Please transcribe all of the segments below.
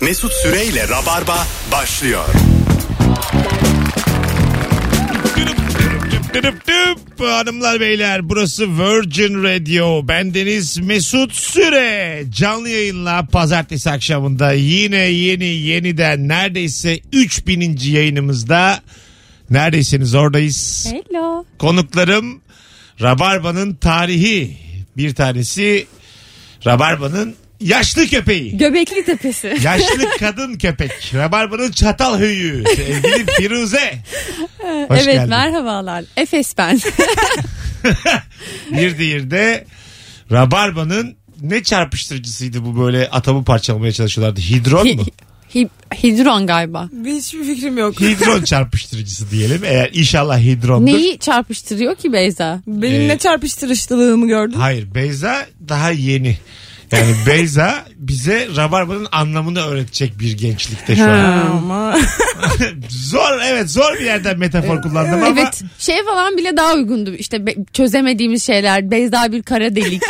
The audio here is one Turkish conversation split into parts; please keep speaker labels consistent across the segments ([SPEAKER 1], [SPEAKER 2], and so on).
[SPEAKER 1] Mesut Süreyle Rabarba başlıyor.
[SPEAKER 2] Düdüp, düdüp, düdüp, düdüp. Hanımlar beyler burası Virgin Radio. Bendeniz Mesut Süre. Canlı yayınla pazartesi akşamında yine yeni yeniden neredeyse 3000. yayınımızda neredeyseniz oradayız.
[SPEAKER 3] Hello.
[SPEAKER 2] Konuklarım Rabarba'nın tarihi. Bir tanesi Rabarba'nın yaşlı köpeği.
[SPEAKER 3] Göbekli Tepesi.
[SPEAKER 2] Yaşlı kadın köpek. Rabarba'nın çatal höyüğü. Sevgili Firuze. Hoş
[SPEAKER 3] evet
[SPEAKER 2] geldin.
[SPEAKER 3] merhabalar. Efes ben.
[SPEAKER 2] Bir diğeri de Rabarba'nın ne çarpıştırıcısıydı bu böyle atamı parçalamaya çalışıyorlardı. Hidron mu?
[SPEAKER 3] Hi- hidron galiba.
[SPEAKER 4] Hiçbir fikrim yok.
[SPEAKER 2] Hidron çarpıştırıcısı diyelim. Eğer inşallah hidrondur.
[SPEAKER 3] Neyi çarpıştırıyor ki Beyza?
[SPEAKER 4] Benimle
[SPEAKER 2] Ee,
[SPEAKER 4] çarpıştırışlılığımı gördün.
[SPEAKER 2] Hayır Beyza daha yeni. Yani Beyza bize Rabarba'nın anlamını öğretecek bir gençlikte şu an.
[SPEAKER 4] Ama
[SPEAKER 2] zor evet zor bir yerden metafor kullandım ama.
[SPEAKER 3] Evet şey falan bile daha uygundu. İşte be- çözemediğimiz şeyler. Beyza bir kara delik.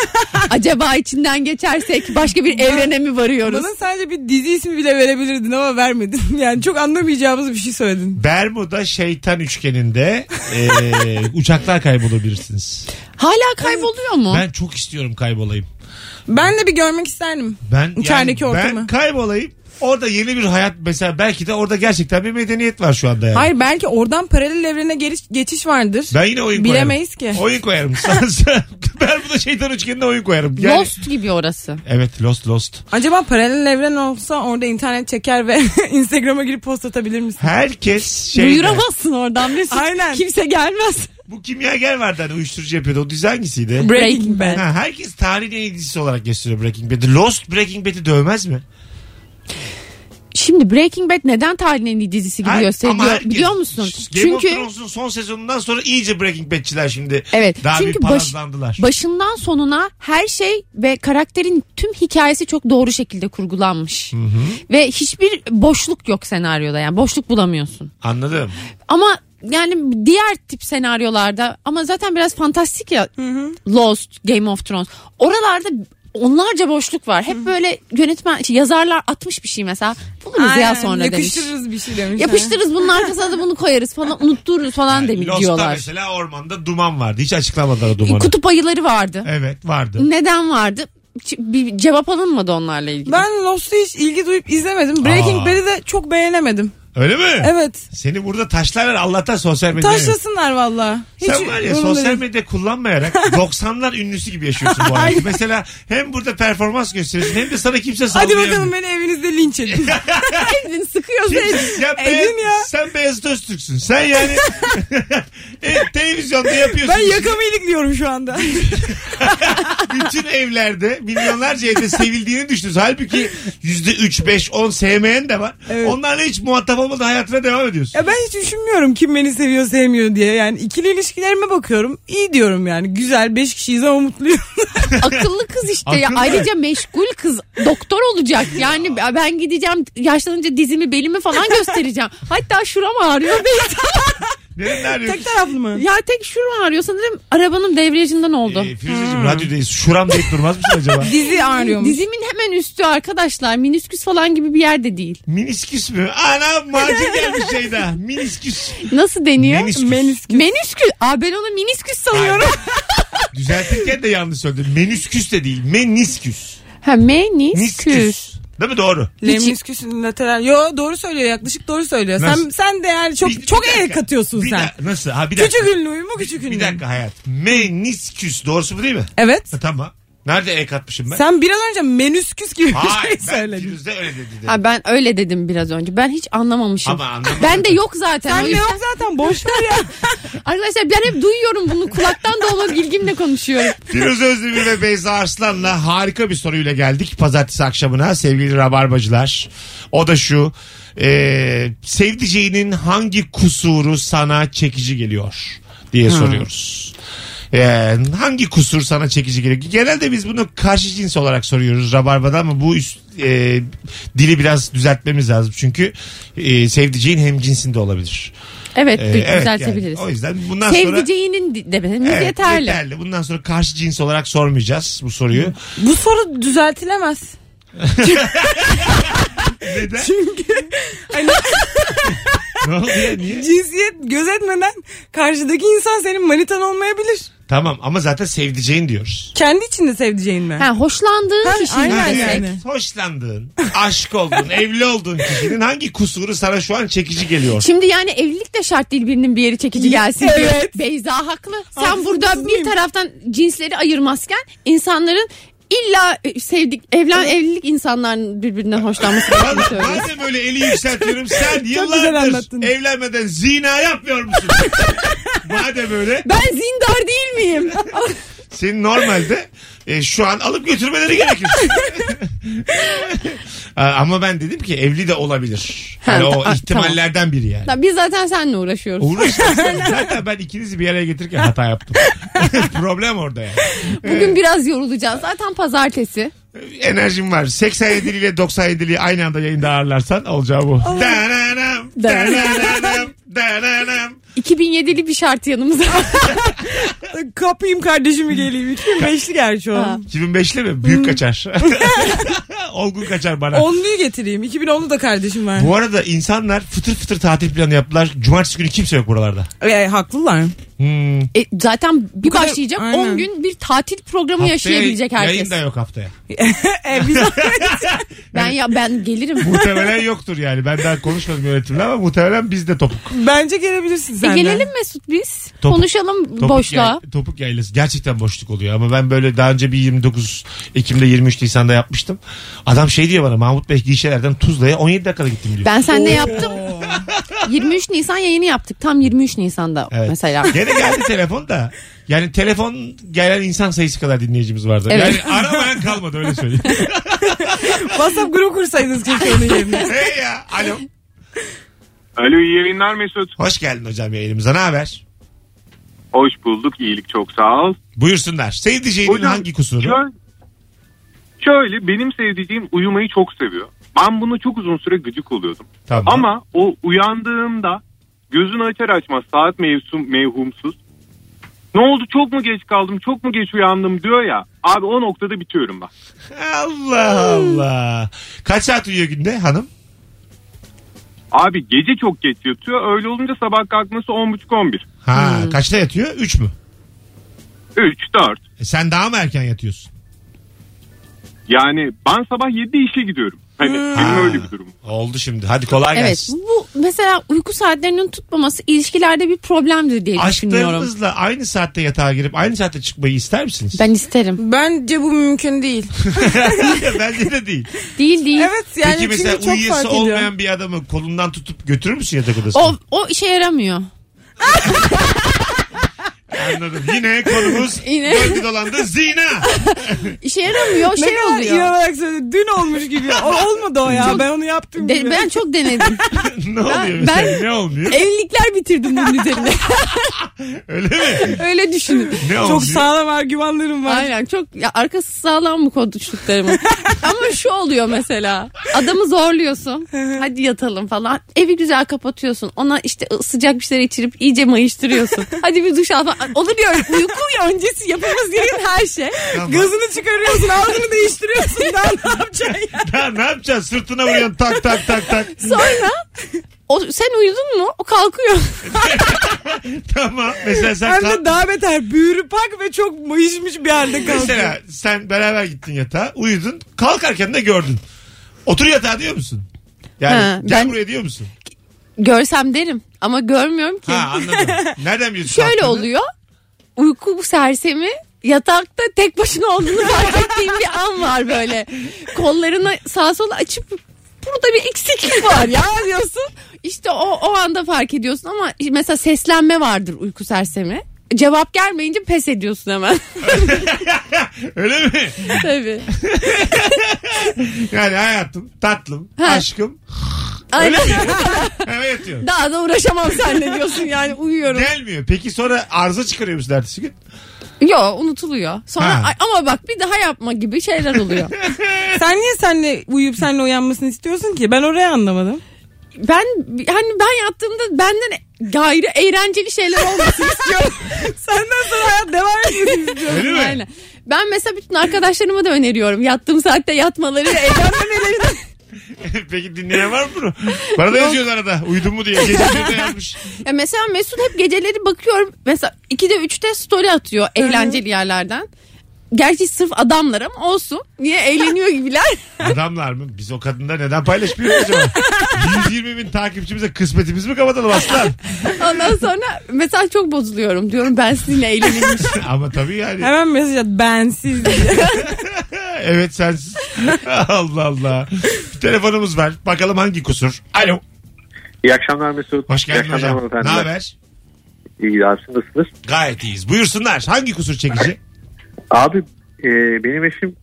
[SPEAKER 3] Acaba içinden geçersek başka bir evrene mi varıyoruz?
[SPEAKER 4] bana sadece bir dizi ismi bile verebilirdin ama vermedin. Yani çok anlamayacağımız bir şey söyledin.
[SPEAKER 2] Bermuda şeytan üçgeninde eee, uçaklar kaybolabilirsiniz.
[SPEAKER 3] Hala kayboluyor mu?
[SPEAKER 2] Ben çok istiyorum kaybolayım.
[SPEAKER 4] Ben de bir görmek isterdim.
[SPEAKER 2] Ben
[SPEAKER 4] İçerideki
[SPEAKER 2] yani ben
[SPEAKER 4] ortamı.
[SPEAKER 2] kaybolayım. Orada yeni bir hayat mesela belki de orada gerçekten bir medeniyet var şu anda yani.
[SPEAKER 4] Hayır belki oradan paralel evrene geliş- geçiş vardır.
[SPEAKER 2] Ben yine oyun koyarım.
[SPEAKER 4] Bilemeyiz ki.
[SPEAKER 2] Oyun koyarım. ben bu da şeytan üçgeninde oyun koyarım. Yani,
[SPEAKER 3] Lost gibi orası.
[SPEAKER 2] Evet Lost Lost.
[SPEAKER 4] Acaba paralel evren olsa orada internet çeker ve Instagram'a girip post atabilir misin?
[SPEAKER 2] Herkes şey
[SPEAKER 3] Duyuramazsın oradan Mesut.
[SPEAKER 4] Aynen.
[SPEAKER 3] Kimse gelmez.
[SPEAKER 2] bu kimya gel vardı hani uyuşturucu yapıyordu. O dizi hangisiydi?
[SPEAKER 3] Breaking Bad.
[SPEAKER 2] Ha, herkes tarihin en iyi dizisi olarak gösteriyor Breaking Bad'i. Lost Breaking Bad'i dövmez mi?
[SPEAKER 3] Şimdi Breaking Bad neden tarihin en iyi dizisi gibi
[SPEAKER 2] Her- ama
[SPEAKER 3] gösteriliyor
[SPEAKER 2] herkes-
[SPEAKER 3] biliyor musun?
[SPEAKER 2] Game
[SPEAKER 3] Çünkü
[SPEAKER 2] of Thrones'un son sezonundan sonra iyice Breaking Bad'çiler şimdi.
[SPEAKER 3] Evet.
[SPEAKER 2] Daha
[SPEAKER 3] Çünkü
[SPEAKER 2] bir
[SPEAKER 3] baş-
[SPEAKER 2] palazlandılar.
[SPEAKER 3] başından sonuna her şey ve karakterin tüm hikayesi çok doğru şekilde kurgulanmış. Ve hiçbir boşluk yok senaryoda yani boşluk bulamıyorsun.
[SPEAKER 2] Anladım.
[SPEAKER 3] Ama yani diğer tip senaryolarda ama zaten biraz fantastik ya Lost, Game of Thrones. Oralarda onlarca boşluk var. Hep böyle yönetmen şey, yazarlar atmış bir şey mesela. Buluruz ya sonra demiş.
[SPEAKER 4] Yakıştırırız bir şey demiş.
[SPEAKER 3] Yapıştırırız bunun arkasına da bunu koyarız falan unuttururuz falan demiş
[SPEAKER 2] Lost'ta
[SPEAKER 3] diyorlar.
[SPEAKER 2] mesela ormanda duman vardı. Hiç açıklamadılar o dumanı.
[SPEAKER 3] Kutup ayıları vardı.
[SPEAKER 2] Evet vardı.
[SPEAKER 3] Neden vardı? Ç- Bir cevap alınmadı onlarla ilgili.
[SPEAKER 4] Ben Lost'u hiç ilgi duyup izlemedim. Breaking
[SPEAKER 2] Aa.
[SPEAKER 4] Bad'i de çok beğenemedim.
[SPEAKER 2] Öyle mi?
[SPEAKER 4] Evet.
[SPEAKER 2] Seni burada taşlarlar Allah'tan sosyal medyaya.
[SPEAKER 4] Taşlasınlar valla.
[SPEAKER 2] Sen var ya sosyal medya kullanmayarak 90'lar ünlüsü gibi yaşıyorsun bu hayatı. Mesela hem burada performans gösteriyorsun hem de sana kimse
[SPEAKER 4] Hadi
[SPEAKER 2] sallayamıyor.
[SPEAKER 4] bakalım beni evinizde linç edin.
[SPEAKER 3] Elvin sıkıyor
[SPEAKER 2] Kimse- ya be-
[SPEAKER 4] Edin ya.
[SPEAKER 2] Sen Beyazıt Öztürk'sün. Sen yani e, televizyonda yapıyorsun. şey.
[SPEAKER 4] ben yakamı ilikliyorum şu anda.
[SPEAKER 2] Bütün evlerde milyonlarca evde sevildiğini düşünüyorsun. Halbuki yüzde 3, 5, 10 sevmeyen de var.
[SPEAKER 4] Evet.
[SPEAKER 2] Onlarla hiç muhatap olmadan hayatına devam ediyorsun.
[SPEAKER 4] ya ben hiç düşünmüyorum kim beni seviyor sevmiyor diye. Yani ikili ilişkilerime bakıyorum. İyi diyorum yani. Güzel beş kişiyiz ama mutluyum.
[SPEAKER 3] Akıllı kız işte ya.
[SPEAKER 2] Akıllı.
[SPEAKER 3] Ayrıca meşgul kız. Doktor olacak. Yani ben gideceğim yaşlanınca dizimi belimi falan göstereceğim. Hatta şuram ağrıyor.
[SPEAKER 2] Neden arıyorsun?
[SPEAKER 4] Tek taraflı mı?
[SPEAKER 3] ya tek şuram ağrıyor. Sanırım arabanın devriyajından oldu.
[SPEAKER 2] Ee, Firuzeciğim
[SPEAKER 4] Hmm.
[SPEAKER 2] radyodayız. Şuram deyip durmaz mısın acaba?
[SPEAKER 4] Dizi ağrıyormuş.
[SPEAKER 3] Dizimin hemen üstü arkadaşlar. Minisküs falan gibi bir yerde değil.
[SPEAKER 2] Minisküs mü? Anam macun gelmiş şeyde. Minisküs.
[SPEAKER 3] Nasıl deniyor?
[SPEAKER 2] Menisküs.
[SPEAKER 3] Menisküs. Menisküs. Aa ben onu minisküs sanıyorum.
[SPEAKER 2] Düzeltirken de yanlış söyledim. Menüsküs de değil. Menisküs.
[SPEAKER 3] Ha menisküs.
[SPEAKER 2] Nisküs. Değil mi? Doğru.
[SPEAKER 4] Lemnisküs'ün lateral. Yo doğru söylüyor yaklaşık doğru söylüyor.
[SPEAKER 2] Nasıl?
[SPEAKER 4] Sen sen de yani çok
[SPEAKER 2] Bir- bir
[SPEAKER 4] çok
[SPEAKER 2] dakika.
[SPEAKER 4] el katıyorsun
[SPEAKER 2] Bir
[SPEAKER 4] sen.
[SPEAKER 2] da- nasıl? Ha bir dakika.
[SPEAKER 4] küçük ünlü mu küçük ünlü?
[SPEAKER 2] Bir dakika hayat. Menisküs. Doğrusu bu değil mi?
[SPEAKER 4] Evet.
[SPEAKER 2] Ha, tamam. Nerede E katmışım ben?
[SPEAKER 4] Sen biraz önce menüsküs gibi bir
[SPEAKER 2] Hayır
[SPEAKER 4] şey
[SPEAKER 2] ben
[SPEAKER 4] söyledin.
[SPEAKER 2] Firuze öyle dedi. dedim.
[SPEAKER 3] Ha ben öyle dedim biraz önce. Ben hiç anlamamışım.
[SPEAKER 2] Ama anlamadım.
[SPEAKER 3] Ben de yok zaten. O
[SPEAKER 4] Sen de
[SPEAKER 3] yüzden-
[SPEAKER 4] yok zaten boş ver ya.
[SPEAKER 3] Arkadaşlar ben hep duyuyorum bunu. Kulaktan dolma bilgimle konuşuyorum.
[SPEAKER 2] Firuze Özdemir ve Beyza Arslan'la harika bir soruyla geldik pazartesi akşamına sevgili rabarbacılar. O da şu e, sevdiceğinin hangi kusuru sana çekici geliyor diye
[SPEAKER 3] Hmm.
[SPEAKER 2] soruyoruz. E, hangi kusur sana çekici geliyor? Genelde biz bunu karşı cins olarak soruyoruz rabarbada ama bu üst, e, dili biraz düzeltmemiz lazım. Çünkü e, sevdiceğin hem cinsinde olabilir.
[SPEAKER 3] Evet,
[SPEAKER 2] E,
[SPEAKER 3] dü-
[SPEAKER 2] evet
[SPEAKER 3] düzeltebiliriz.
[SPEAKER 2] yani. o yüzden bundan sonra...
[SPEAKER 3] Sevdiceğinin di- dememiz
[SPEAKER 2] Evet,
[SPEAKER 3] yeterli.
[SPEAKER 2] Bundan sonra karşı cins olarak sormayacağız bu soruyu.
[SPEAKER 4] Bu soru düzeltilemez.
[SPEAKER 2] Neden?
[SPEAKER 4] Çünkü hani
[SPEAKER 2] ne oldu ya niye?
[SPEAKER 4] cinsiyet gözetmeden karşıdaki insan senin manitan olmayabilir.
[SPEAKER 2] Tamam ama zaten sevdiceğin diyoruz.
[SPEAKER 4] Kendi içinde sevdiceğin mi?
[SPEAKER 3] Ha, hoşlandığın
[SPEAKER 4] Ha,
[SPEAKER 3] kişi
[SPEAKER 4] aynen
[SPEAKER 3] desek.
[SPEAKER 4] yani.
[SPEAKER 2] Hoşlandığın, aşık olduğun, evli olduğun kişinin hangi kusuru sana şu an çekici geliyor?
[SPEAKER 3] Şimdi yani evlilik de şart değil birinin bir yeri çekici gelsin diyor.
[SPEAKER 4] Evet.
[SPEAKER 3] Beyza haklı. Sen
[SPEAKER 4] Haksız
[SPEAKER 3] burada bir
[SPEAKER 4] mıyım?
[SPEAKER 3] taraftan cinsleri ayırmazken insanların illa e, sevdik evlen evlilik insanların birbirinden hoşlanması gerektiğini söylüyor.
[SPEAKER 2] Madem öyle eli yükseltiyorum sen
[SPEAKER 4] anlattın.
[SPEAKER 2] yıllardır evlenmeden zina yapmıyor musun? Madem öyle
[SPEAKER 3] Ben zindar değil miyim?
[SPEAKER 2] senin normalde e, şu an alıp götürmeleri gerekir. Aa, Ama ben dedim ki evli de olabilir.
[SPEAKER 3] Ha,
[SPEAKER 2] Yani o
[SPEAKER 3] ta-
[SPEAKER 2] ihtimallerden biri yani.
[SPEAKER 3] Lan Biz zaten seninle uğraşıyoruz.
[SPEAKER 2] Uğraştım. Zaten ben ikinizi bir araya getirirken hata yaptım. Problem orada yani. e-
[SPEAKER 3] Bugün biraz yorulacağız. Zaten pazartesi.
[SPEAKER 2] Enerjim var. 87 ile 97'liyi aynı anda yayında ağırlarsan olacağı bu. Dananam, dananam, dananam.
[SPEAKER 3] 2007'li bir şart yanımıza.
[SPEAKER 4] Kapayım kardeşimi geleyim. 2005'li gerçi o.
[SPEAKER 3] Ha.
[SPEAKER 2] 2005'li mi?
[SPEAKER 3] Hmm.
[SPEAKER 2] Büyük kaçar. Olgun kaçar bana.
[SPEAKER 4] Onluyu getireyim. 2010'lu da kardeşim var.
[SPEAKER 2] Bu arada insanlar fıtır fıtır tatil planı yaptılar. Cumartesi günü kimse yok buralarda.
[SPEAKER 4] E, haklılar.
[SPEAKER 2] Hmm.
[SPEAKER 3] E, zaten bir
[SPEAKER 4] kadar-
[SPEAKER 3] başlayacak
[SPEAKER 4] Aynen.
[SPEAKER 3] 10 gün bir tatil programı
[SPEAKER 2] Haftaya
[SPEAKER 3] yaşayabilecek
[SPEAKER 2] Yayın
[SPEAKER 3] herkes.
[SPEAKER 2] da yok haftaya.
[SPEAKER 4] E, biz
[SPEAKER 3] Ben ya ben gelirim.
[SPEAKER 2] Muhtemelen yoktur yani. Ben daha konuşmadım yönetimle ama muhtemelen biz de topuk.
[SPEAKER 4] bence gelebilirsin
[SPEAKER 3] E,
[SPEAKER 4] sen de.
[SPEAKER 3] gelelim Mesut biz.
[SPEAKER 2] Topuk-
[SPEAKER 3] Konuşalım
[SPEAKER 2] Topuk
[SPEAKER 3] boşluğa.
[SPEAKER 2] yay- topuk yaylası. Gerçekten boşluk oluyor ama ben böyle daha önce bir 29 Ekim'de 23 Nisan'da yapmıştım. Adam şey diyor bana Mahmut Bey gişelerden Tuzla'ya 17 dakikada gittim diyor.
[SPEAKER 3] Ben seninle yaptım. 23 Nisan yayını yaptık. Tam 23 Nisan'da
[SPEAKER 2] Evet.
[SPEAKER 3] mesela.
[SPEAKER 2] Gene geldi telefon da. Yani telefon gelen insan sayısı kadar dinleyicimiz vardı.
[SPEAKER 3] Evet.
[SPEAKER 2] Yani aramayan kalmadı öyle söyleyeyim.
[SPEAKER 4] WhatsApp grubu kursaydınız keşke onun yerine.
[SPEAKER 2] hey ya. Alo.
[SPEAKER 5] Alo iyi yayınlar Mesut.
[SPEAKER 2] Hoş geldin hocam yayınımıza. Ne haber?
[SPEAKER 5] Hoş bulduk iyilik çok sağ ol.
[SPEAKER 2] Buyursunlar. Sevdiceğinin
[SPEAKER 5] Hocam,
[SPEAKER 2] hangi kusuru?
[SPEAKER 5] Şöyle, şöyle benim sevdiğim uyumayı çok seviyor. Ben bunu çok uzun süre gıcık oluyordum.
[SPEAKER 2] Tamam.
[SPEAKER 5] Ama o uyandığında gözünü açar açmaz saat mevsum, mevhumsuz. Ne oldu çok mu geç kaldım çok mu geç uyandım diyor ya. Abi o noktada bitiyorum ben.
[SPEAKER 2] Allah Allah. Kaç saat uyuyor günde hanım?
[SPEAKER 5] Abi gece çok geç yatıyor öyle olunca sabah kalkması 10.30-11.
[SPEAKER 3] Hmm.
[SPEAKER 2] Ha, kaçta yatıyor? 3 mü?
[SPEAKER 5] 3-4.
[SPEAKER 2] E sen daha mı erken yatıyorsun?
[SPEAKER 5] Yani ben sabah 7'de işe gidiyorum. Hani
[SPEAKER 2] Hmm. Ha.
[SPEAKER 5] benim öyle bir durum.
[SPEAKER 2] Oldu şimdi. Hadi kolay
[SPEAKER 3] Evet
[SPEAKER 2] gelsin.
[SPEAKER 3] bu mesela uyku saatlerinin tutmaması ilişkilerde bir problemdir diye düşünüyorum.
[SPEAKER 2] Aşklarınızla aynı saatte yatağa girip aynı saatte çıkmayı ister misiniz?
[SPEAKER 3] Ben isterim.
[SPEAKER 4] Bence bu mümkün değil.
[SPEAKER 2] Bence de değil.
[SPEAKER 3] Değil değil.
[SPEAKER 4] Evet yani
[SPEAKER 2] Peki mesela
[SPEAKER 4] çünkü çok fark
[SPEAKER 2] uyuyası
[SPEAKER 4] ediyor.
[SPEAKER 2] olmayan bir adamı kolundan tutup götürür müsün yatak odasına?
[SPEAKER 3] O, o işe yaramıyor.
[SPEAKER 2] Anladım. Yine konumuz
[SPEAKER 3] Yine.
[SPEAKER 2] döndü dolandı zina.
[SPEAKER 3] İşe yaramıyor.
[SPEAKER 4] Ne
[SPEAKER 3] Şey
[SPEAKER 4] kadar
[SPEAKER 3] oluyor.
[SPEAKER 4] inanarak söyledi. Dün olmuş gibi. O, olmadı o ya.
[SPEAKER 3] Çok-
[SPEAKER 4] ben onu yaptım
[SPEAKER 3] De-
[SPEAKER 4] gibi.
[SPEAKER 3] ben çok denedim.
[SPEAKER 2] ne oluyor
[SPEAKER 3] Ben-
[SPEAKER 2] mesela?
[SPEAKER 3] ben- E,
[SPEAKER 2] Ne olmuyor?
[SPEAKER 3] Evlilikler bitirdim bunun üzerine.
[SPEAKER 2] Öyle mi?
[SPEAKER 3] Öyle düşünün.
[SPEAKER 2] Ne olmuyor?
[SPEAKER 4] Çok sağlam argümanlarım var.
[SPEAKER 3] Aynen çok ya arkası sağlam bu konuştuklarımın. Ama şu oluyor mesela. Adamı zorluyorsun. Hadi yatalım falan. Evi güzel kapatıyorsun. Ona işte sıcak bir şeyler içirip iyice mayıştırıyorsun. Hadi bir duş al falan. Olur ya uyku öncesi yapılması gereken her şey.
[SPEAKER 2] Tamam.
[SPEAKER 4] Gazını çıkarıyorsun, ağzını değiştiriyorsun. Daha ne yapacaksın ya?
[SPEAKER 2] Ya ne yapacaksın? Sırtına vuruyorsun tak tak tak tak.
[SPEAKER 3] Sonra o, sen uyudun mu? O kalkıyor.
[SPEAKER 2] tamam. Mesela sen
[SPEAKER 4] Hem
[SPEAKER 2] kalk-
[SPEAKER 4] de daha beter. Büğrü pak ve çok mayışmış bir halde kalkıyor.
[SPEAKER 2] mesela sen beraber gittin yatağa, uyudun. Kalkarken de gördün. Otur yatağa diyor musun? Yani
[SPEAKER 3] Ha,
[SPEAKER 2] gel
[SPEAKER 3] ben-
[SPEAKER 2] buraya diyor musun?
[SPEAKER 3] Görsem derim ama görmüyorum ki.
[SPEAKER 2] Ha anladım. Nereden biliyorsun?
[SPEAKER 3] Şöyle
[SPEAKER 2] kalktığını?
[SPEAKER 3] oluyor. Uyku bu sersemi yatakta tek başına olduğunu fark ettiğim bir an var böyle. Kollarını sağa sola açıp burada bir eksiklik var ya diyorsun. İşte o, o anda fark ediyorsun ama mesela seslenme vardır uyku sersemi. Cevap gelmeyince pes ediyorsun hemen.
[SPEAKER 2] Öyle mi?
[SPEAKER 3] Tabii.
[SPEAKER 2] Yani hayatım, tatlım,
[SPEAKER 3] Ha.
[SPEAKER 2] aşkım.
[SPEAKER 3] Aynen.
[SPEAKER 2] Hemen yatıyorum.
[SPEAKER 3] Daha da uğraşamam seninle diyorsun yani uyuyorum.
[SPEAKER 2] Gelmiyor. Peki sonra arıza çıkarıyor musun ertesi gün?
[SPEAKER 3] Yo unutuluyor. Sonra
[SPEAKER 2] Ha.
[SPEAKER 3] "Ay, ama bak bir daha yapma gibi şeyler oluyor.
[SPEAKER 4] Sen niye senle uyuyup senle uyanmasını istiyorsun ki? Ben orayı anlamadım.
[SPEAKER 3] ben hani ben yattığımda benden gayrı eğlenceli şeyler olmasın istiyorum.
[SPEAKER 4] Senden sonra hayat devam etmesini istiyorum.
[SPEAKER 2] Öyle mi?
[SPEAKER 3] Aynen. Ben mesela bütün arkadaşlarıma da öneriyorum. Yattığım saatte yatmaları ve eğlenmemeleri.
[SPEAKER 2] Peki dinleyen var mı bunu? Bana da yazıyorlar arada. Uydun mu diye. Geceleri de yazmış.
[SPEAKER 3] Ya mesela Mesut hep geceleri bakıyorum. Mesela 2'de 3'te story atıyor eğlenceli yerlerden. Gerçi sırf adamlar ama olsun. Niye eğleniyor gibiler?
[SPEAKER 2] Adamlar mı? Biz o kadınlar neden paylaşmıyoruz acaba? 120 bin takipçimize kısmetimiz mi kapatalım aslan?
[SPEAKER 3] Ondan sonra mesela çok bozuluyorum diyorum ben sizinle eğleneyim.
[SPEAKER 2] Ama tabii yani.
[SPEAKER 4] Hemen mesaj at bensiz diye.
[SPEAKER 2] Evet sensiz. Allah Allah. Bir telefonumuz var. Bakalım hangi kusur. Alo.
[SPEAKER 6] İyi akşamlar Mesut.
[SPEAKER 2] Hoş
[SPEAKER 6] İyi
[SPEAKER 2] geldin
[SPEAKER 6] akşamlar
[SPEAKER 2] hocam. Ne
[SPEAKER 6] hanımefendiler.
[SPEAKER 2] haber?
[SPEAKER 6] İyi abi siz nasılsınız?
[SPEAKER 2] Gayet iyiyiz. Buyursunlar. Hangi kusur çekici?
[SPEAKER 6] Abi e, benim eşim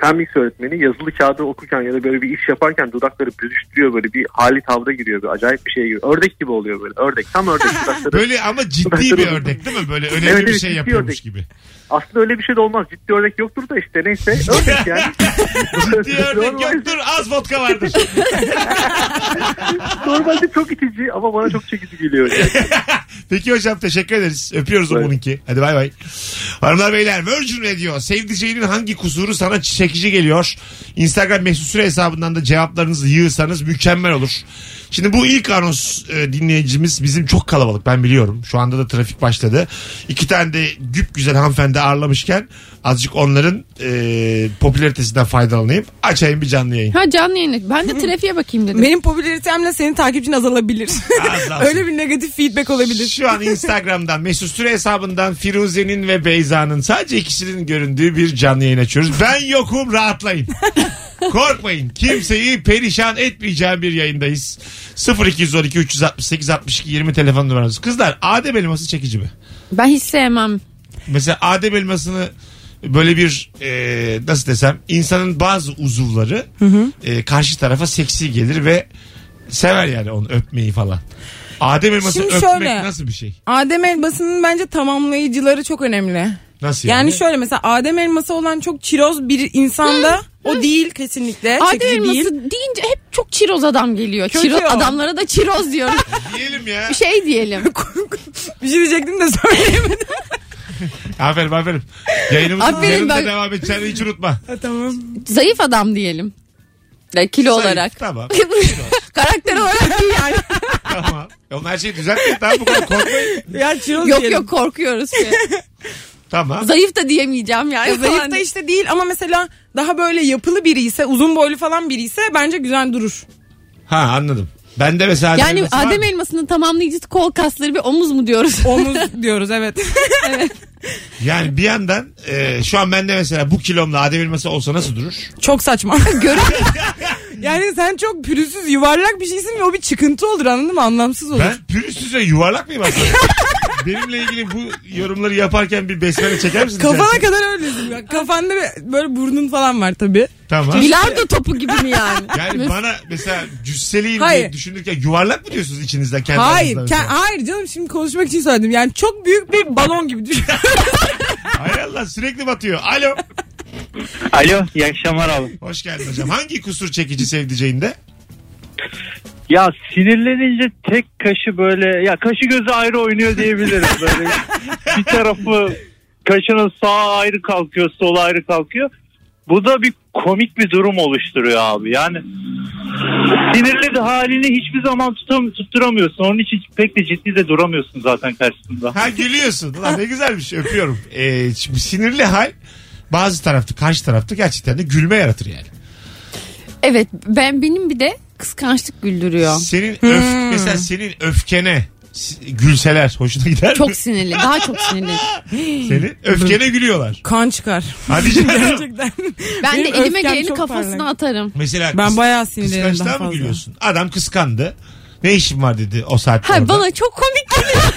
[SPEAKER 6] fen bilgisi öğretmeni yazılı kağıdı okurken ya da böyle bir iş yaparken dudakları büzüştürüyor böyle bir hali tavra giriyor böyle acayip bir şeye giriyor. Ördek gibi oluyor böyle ördek tam ördek dudakları.
[SPEAKER 2] Böyle ama ciddi bir ördek değil mi? Böyle önemli
[SPEAKER 6] Evet,
[SPEAKER 2] bir
[SPEAKER 6] evet,
[SPEAKER 2] şey
[SPEAKER 6] ciddi
[SPEAKER 2] yapıyormuş
[SPEAKER 6] ördek.
[SPEAKER 2] gibi.
[SPEAKER 6] Aslında öyle bir şey de olmaz ciddi ördek yoktur da işte neyse ördek yani.
[SPEAKER 2] Ciddi ördek yoktur. Az vodka vardır.
[SPEAKER 6] Normalde çok itici ama bana çok çekici geliyor. Yani.
[SPEAKER 2] Peki hocam teşekkür ederiz. Öpüyoruz
[SPEAKER 6] Evet.
[SPEAKER 2] onunki. Hadi bay bay. Hanımlar beyler Virgin Radio sevdiceğinin hangi kusuru sana çekici geliyor? Instagram mesut süre hesabından da cevaplarınızı yığırsanız mükemmel olur. Şimdi bu ilk anons e, dinleyicimiz bizim çok kalabalık ben biliyorum. Şu anda da trafik başladı. İki tane de güp güzel hanımefendi ağırlamışken azıcık onların e, popülaritesinden faydalanayım. Açayım bir canlı yayın.
[SPEAKER 3] ha canlı yayını. Ben de trafiğe bakayım dedim.
[SPEAKER 4] Benim popülaritemle senin takipçin azalabilir.
[SPEAKER 2] Azalsın.
[SPEAKER 4] Öyle bir negatif feedback olabilir.
[SPEAKER 2] Şu an Instagram'dan Mesut Süre hesabından Firuze'nin ve Beyza'nın sadece ikisinin göründüğü bir canlı yayın açıyoruz. Ben yokum rahatlayın. Korkmayın. Kimseyi perişan etmeyeceğim bir yayındayız. 0212 368 62 20 telefon numaranız. Kızlar Adem elması çekici mi?
[SPEAKER 3] Ben hiç sevmem.
[SPEAKER 2] Mesela Adem elmasını böyle bir e, nasıl desem insanın bazı uzuvları e, karşı tarafa seksi gelir ve sever yani onu öpmeyi falan. Adem elması
[SPEAKER 4] Şimdi
[SPEAKER 2] öpmek
[SPEAKER 4] şöyle.
[SPEAKER 2] nasıl bir şey?
[SPEAKER 4] Adem elmasının bence tamamlayıcıları çok önemli.
[SPEAKER 2] Nasıl yani?
[SPEAKER 4] Yani şöyle mesela Adem elması olan çok çiroz bir insanda o değil kesinlikle.
[SPEAKER 3] Adem
[SPEAKER 4] Çekici
[SPEAKER 3] elması
[SPEAKER 4] değil.
[SPEAKER 3] deyince hep çok çiroz adam geliyor.
[SPEAKER 4] Kötü
[SPEAKER 3] Çiroz,
[SPEAKER 4] o.
[SPEAKER 3] adamlara da çiroz diyoruz.
[SPEAKER 2] Diyelim ya.
[SPEAKER 3] şey diyelim.
[SPEAKER 4] bir şey diyecektim de söyleyemedim.
[SPEAKER 2] Aferin aferin. Yayınımızın
[SPEAKER 3] Aferin
[SPEAKER 2] yarın da
[SPEAKER 3] ben-
[SPEAKER 2] devam edeceğini hiç unutma.
[SPEAKER 4] Ha, tamam.
[SPEAKER 3] Zayıf adam diyelim. Ya, kilo
[SPEAKER 2] Zayıf,
[SPEAKER 3] olarak.
[SPEAKER 2] tamam.
[SPEAKER 3] Karakter olarak değil yani.
[SPEAKER 2] tamam. Oğlum her şeyi düzeltmeyin. Tamam bu kadar korkmayın.
[SPEAKER 4] Ya çiroz
[SPEAKER 3] yok
[SPEAKER 4] diyelim.
[SPEAKER 3] yok korkuyoruz.
[SPEAKER 2] Tamam.
[SPEAKER 3] Zayıf da diyemeyeceğim hani. yani.
[SPEAKER 4] Ya zayıf
[SPEAKER 3] Falan.
[SPEAKER 4] da işte değil ama mesela daha böyle yapılı biri ise uzun boylu falan biri ise bence güzel durur.
[SPEAKER 2] Ha anladım. Ben de mesela Adem
[SPEAKER 3] Yani
[SPEAKER 2] elması var
[SPEAKER 3] Adem
[SPEAKER 2] mı?
[SPEAKER 3] elmasının tamamlayıcısı kol kasları ve omuz mu diyoruz?
[SPEAKER 4] Omuz diyoruz evet.
[SPEAKER 2] Yani bir yandan e, şu an bende mesela bu kilomla Adem elması olsa nasıl durur?
[SPEAKER 4] çok saçma. yani sen çok pürüzsüz yuvarlak bir şeysin ve o bir çıkıntı olur anladın mı? Anlamsız olur.
[SPEAKER 2] Ben pürüzsüz ve yuvarlak mıyım aslında? Benimle ilgili bu yorumları yaparken bir besmele çeker misin?
[SPEAKER 4] Kafana kadar öylesin. Bak, Kafanda bir- böyle burnun falan var tabii.
[SPEAKER 2] Tamam.
[SPEAKER 3] Bilardo topu gibi mi yani?
[SPEAKER 2] Yani bana mesela cüsseliyim diye
[SPEAKER 4] Hayır.
[SPEAKER 2] düşünürken yuvarlak mı diyorsunuz içinizden kendi
[SPEAKER 4] Hayır.
[SPEAKER 2] aranızda
[SPEAKER 4] ke-
[SPEAKER 2] mesela?
[SPEAKER 4] hayır canım şimdi konuşmak için söyledim. Yani çok büyük bir balon gibi düşün.
[SPEAKER 2] Hay Allah sürekli batıyor. Alo.
[SPEAKER 7] Alo iyi akşamlar abi.
[SPEAKER 2] Hoş geldin hocam. Hangi kusur çekici sevdiceğinde?
[SPEAKER 7] Ya sinirlenince tek kaşı böyle ya kaşı gözü ayrı oynuyor diyebiliriz. Böyle bir tarafı kaşının sağı ayrı kalkıyor solu ayrı kalkıyor. Bu da bir komik bir durum oluşturuyor abi. Yani sinirli de halini hiçbir zaman tutam tutturamıyorsun. Onun için pek de ciddi de duramıyorsun zaten karşısında.
[SPEAKER 2] Ha gülüyorsun. Ulan ne güzelmiş öpüyorum. Ee, şimdi sinirli hal bazı tarafta karşı tarafta gerçekten de gülme yaratır yani.
[SPEAKER 3] Evet ben benim bir de kıskançlık güldürüyor.
[SPEAKER 2] Senin
[SPEAKER 3] Hmm.
[SPEAKER 2] öf mesela senin öfkene s- gülseler hoşuna gider mi?
[SPEAKER 3] Çok Hmm. sinirli daha çok sinirli.
[SPEAKER 2] Senin öfkene gülüyorlar.
[SPEAKER 4] Kan çıkar.
[SPEAKER 2] Hadi canım.
[SPEAKER 4] Gerçekten.
[SPEAKER 3] Ben
[SPEAKER 4] Benim
[SPEAKER 3] de elime
[SPEAKER 4] öfkem
[SPEAKER 3] geleni
[SPEAKER 4] çok
[SPEAKER 3] kafasına
[SPEAKER 4] parlak.
[SPEAKER 3] atarım.
[SPEAKER 2] Mesela
[SPEAKER 4] Ben
[SPEAKER 2] kıs-
[SPEAKER 4] bayağı sinirlenirim daha
[SPEAKER 2] kıskançlığa mı
[SPEAKER 4] fazla.
[SPEAKER 2] gülüyorsun? Adam kıskandı. Ne işin var dedi o saatte
[SPEAKER 3] Ha,
[SPEAKER 2] orada.
[SPEAKER 3] bana çok komik geliyor.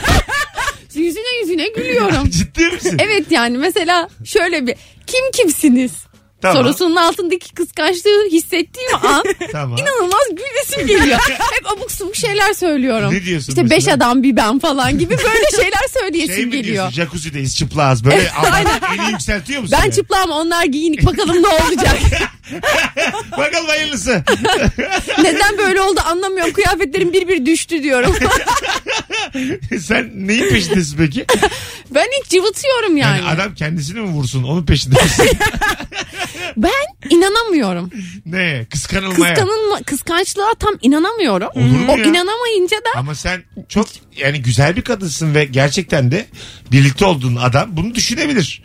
[SPEAKER 3] yüzüne yüzüne gülüyorum.
[SPEAKER 2] Ciddi misin?
[SPEAKER 3] Evet yani mesela şöyle bir kim kimsiniz?
[SPEAKER 2] Tamam.
[SPEAKER 3] Sorusunun altındaki kıskançlığı hissettiğim an
[SPEAKER 2] Tamam.
[SPEAKER 3] inanılmaz gülesim geliyor. Hep abuk subuk şeyler söylüyorum.
[SPEAKER 2] Ne diyorsun
[SPEAKER 3] İşte beş
[SPEAKER 2] mesela?
[SPEAKER 3] adam bir ben falan gibi böyle şeyler söyleyesim
[SPEAKER 2] Şey mi
[SPEAKER 3] geliyor.
[SPEAKER 2] diyorsun jacuzzideyiz çıplağız böyle ama eli yükseltiyor musun?
[SPEAKER 3] Ben
[SPEAKER 2] yani?
[SPEAKER 3] çıplağım onlar giyinik bakalım ne olacak.
[SPEAKER 2] Bakalım hayırlısı.
[SPEAKER 3] Neden böyle oldu anlamıyorum. Kıyafetlerim bir bir düştü diyorum.
[SPEAKER 2] Sen neyin peşindesin peki?
[SPEAKER 3] Ben hiç cıvıtıyorum yani.
[SPEAKER 2] Yani adam kendisini mi vursun? Onun peşinde misin?
[SPEAKER 3] Ben inanamıyorum.
[SPEAKER 2] ne? Kıskanılmaya.
[SPEAKER 3] Kıskanılma, kıskançlığa tam inanamıyorum.
[SPEAKER 2] Olur mu
[SPEAKER 3] o
[SPEAKER 2] ya?
[SPEAKER 3] inanamayınca da
[SPEAKER 2] Ama sen çok yani güzel bir kadınsın ve gerçekten de birlikte olduğun adam bunu düşünebilir.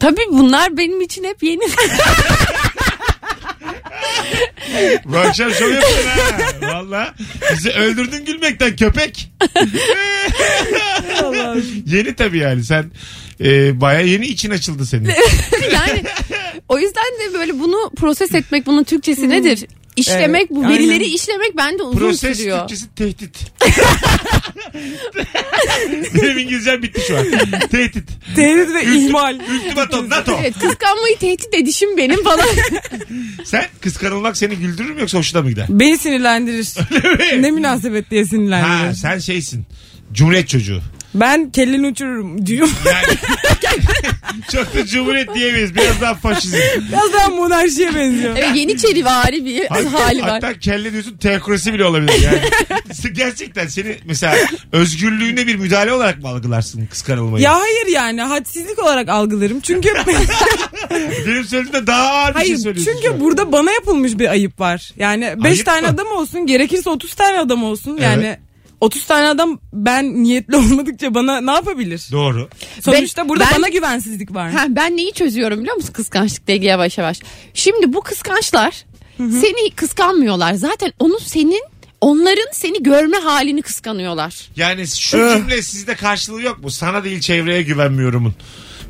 [SPEAKER 3] tabii bunlar benim için hep yeni.
[SPEAKER 2] Bu akşam şov yapın ha. Valla bizi öldürdün gülmekten köpek. yeni tabii yani sen e, baya yeni için açıldı senin.
[SPEAKER 3] yani o yüzden de böyle bunu proses etmek bunun Türkçesi nedir? İşlemek bu
[SPEAKER 4] aynen.
[SPEAKER 3] verileri işlemek bende uzun
[SPEAKER 2] Hmm. Proses
[SPEAKER 3] sürüyor.
[SPEAKER 2] Türkçesi tehdit. Benim İngilizcem bitti şu an. Tehdit.
[SPEAKER 4] Tehdit ve ihmal.
[SPEAKER 2] Ultimatum NATO.
[SPEAKER 3] Evet kıskanmayı tehdit edişim benim falan.
[SPEAKER 2] Sen kıskanılmak seni güldürür mü yoksa hoşuna mı gider?
[SPEAKER 4] Beni sinirlendirir. ne münasebet diye sinirlendirir.
[SPEAKER 2] Ha sen şeysin. Cumhuriyet çocuğu.
[SPEAKER 4] Ben kelleni uçururum diyorum.
[SPEAKER 2] Yani çok da cumhuriyet diyemeyiz. Biraz daha faşizm.
[SPEAKER 4] Biraz daha monarşiye benziyor.
[SPEAKER 3] Evet, Yeniçeri vari bir
[SPEAKER 2] Hatta,
[SPEAKER 3] hali var.
[SPEAKER 2] hatta kelle diyorsun teokrasi bile olabilir yani. Gerçekten seni mesela özgürlüğüne bir müdahale olarak mı algılarsın kıskanılmayı?
[SPEAKER 4] Ya hayır yani hadsizlik olarak algılarım. Çünkü
[SPEAKER 2] şey Benim söylediğimde daha ağır bir şey
[SPEAKER 4] hayır
[SPEAKER 2] söylüyorsun. şu an.
[SPEAKER 4] çünkü burada bana yapılmış bir ayıp var. Yani 5
[SPEAKER 2] Ayıp
[SPEAKER 4] tane
[SPEAKER 2] mı?
[SPEAKER 4] adam olsun, gerekirse 30 tane adam olsun.
[SPEAKER 2] Evet.
[SPEAKER 4] Yani 30 tane adam ben niyetli olmadıkça bana ne yapabilir?
[SPEAKER 2] Doğru.
[SPEAKER 4] Sonuçta burada
[SPEAKER 3] ben-
[SPEAKER 4] bana güvensizlik var.
[SPEAKER 3] Ha, ben neyi çözüyorum biliyor musun kıskançlıkla ilgili yavaş yavaş. Şimdi bu kıskançlar seni kıskanmıyorlar. Zaten onun senin onların seni görme halini kıskanıyorlar.
[SPEAKER 2] Yani
[SPEAKER 3] Eh.
[SPEAKER 2] şu cümle sizde karşılığı yok mu? Sana değil çevreye güvenmiyorumun.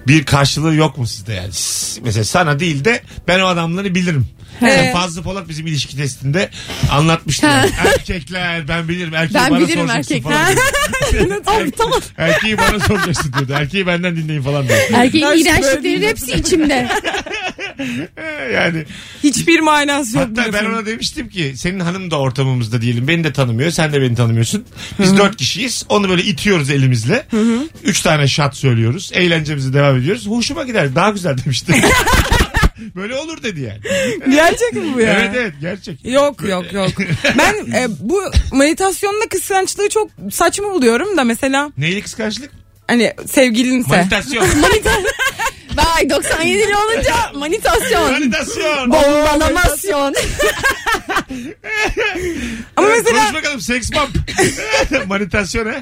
[SPEAKER 2] Bir karşılığı yok mu sizde yani? S- Mesela sana değil de ben o adamları bilirim. Mesela Fazlı Polat bizim ilişki testinde anlatmıştı. yani. erkekler ben bilirim. Erkeği
[SPEAKER 3] Ben
[SPEAKER 2] bana
[SPEAKER 3] bilirim
[SPEAKER 2] soracaksın
[SPEAKER 3] erkekler.
[SPEAKER 2] falan diyor.
[SPEAKER 3] Aptal.
[SPEAKER 2] Erkeği bana soracaksın diyordu. Erkeği benden dinleyin falan diyordu.
[SPEAKER 3] Erkeğin
[SPEAKER 4] Ben
[SPEAKER 3] iğrençliklerin
[SPEAKER 4] söyleyeyim.
[SPEAKER 3] hepsi içimde.
[SPEAKER 2] Ee, yani
[SPEAKER 4] Hiçbir manası yok.
[SPEAKER 2] hatta ben
[SPEAKER 4] diyorsun.
[SPEAKER 2] ona demiştim ki senin hanım da ortamımızda diyelim. Beni de tanımıyor. Sen de beni tanımıyorsun. Biz dört kişiyiz. Onu böyle itiyoruz elimizle. Üç tane şat söylüyoruz. Eğlencemize devam ediyoruz. Hoşuma gider. Daha güzel demişti. böyle olur dedi yani.
[SPEAKER 4] Gerçek mi bu ya?
[SPEAKER 2] Evet evet gerçek.
[SPEAKER 4] Yok yok yok. Ben e, bu meditasyonla kıskançlığı çok saçma buluyorum da mesela
[SPEAKER 2] Neyli kıskançlık?
[SPEAKER 4] hani sevgilinse.
[SPEAKER 2] Manitasyon.
[SPEAKER 3] Vay 97 lira olunca manitasyon.
[SPEAKER 2] Manitasyon.
[SPEAKER 3] Bombalamasyon.
[SPEAKER 4] Ama
[SPEAKER 2] Konuş
[SPEAKER 4] mesela
[SPEAKER 2] bakalım seks bump. Manitasyon ha.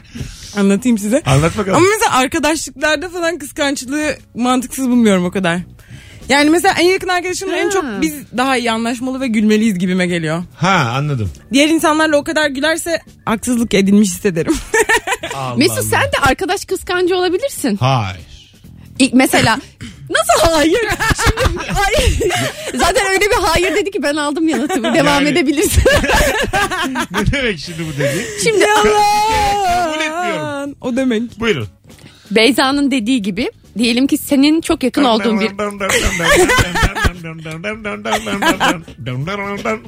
[SPEAKER 4] anlatayım size.
[SPEAKER 2] Anlat bakalım.
[SPEAKER 4] Ama mesela arkadaşlıklarda falan kıskançlığı mantıksız bulmuyorum o kadar. Yani mesela en yakın arkadaşımla en çok biz daha iyi anlaşmalı ve gülmeliyiz gibime geliyor.
[SPEAKER 2] Ha anladım.
[SPEAKER 4] Diğer insanlarla o kadar gülerse haksızlık edilmiş hissederim.
[SPEAKER 2] Allah
[SPEAKER 3] Mesut
[SPEAKER 2] Allah.
[SPEAKER 3] sen de arkadaş kıskancı olabilirsin.
[SPEAKER 2] Hayır.
[SPEAKER 3] İlk mesela nasıl hayır? Şimdi hayır. Zaten öyle bir hayır dedi ki ben aldım yanıtımı. Devam
[SPEAKER 2] Yani-
[SPEAKER 3] edebilirsin.
[SPEAKER 2] Ne demek şimdi bu dediğin?
[SPEAKER 3] Şimdi
[SPEAKER 2] Kabul etmiyorum.
[SPEAKER 4] o demek.
[SPEAKER 2] Buyurun.
[SPEAKER 3] Beyza'nın dediği gibi diyelim ki senin çok yakın olduğun bir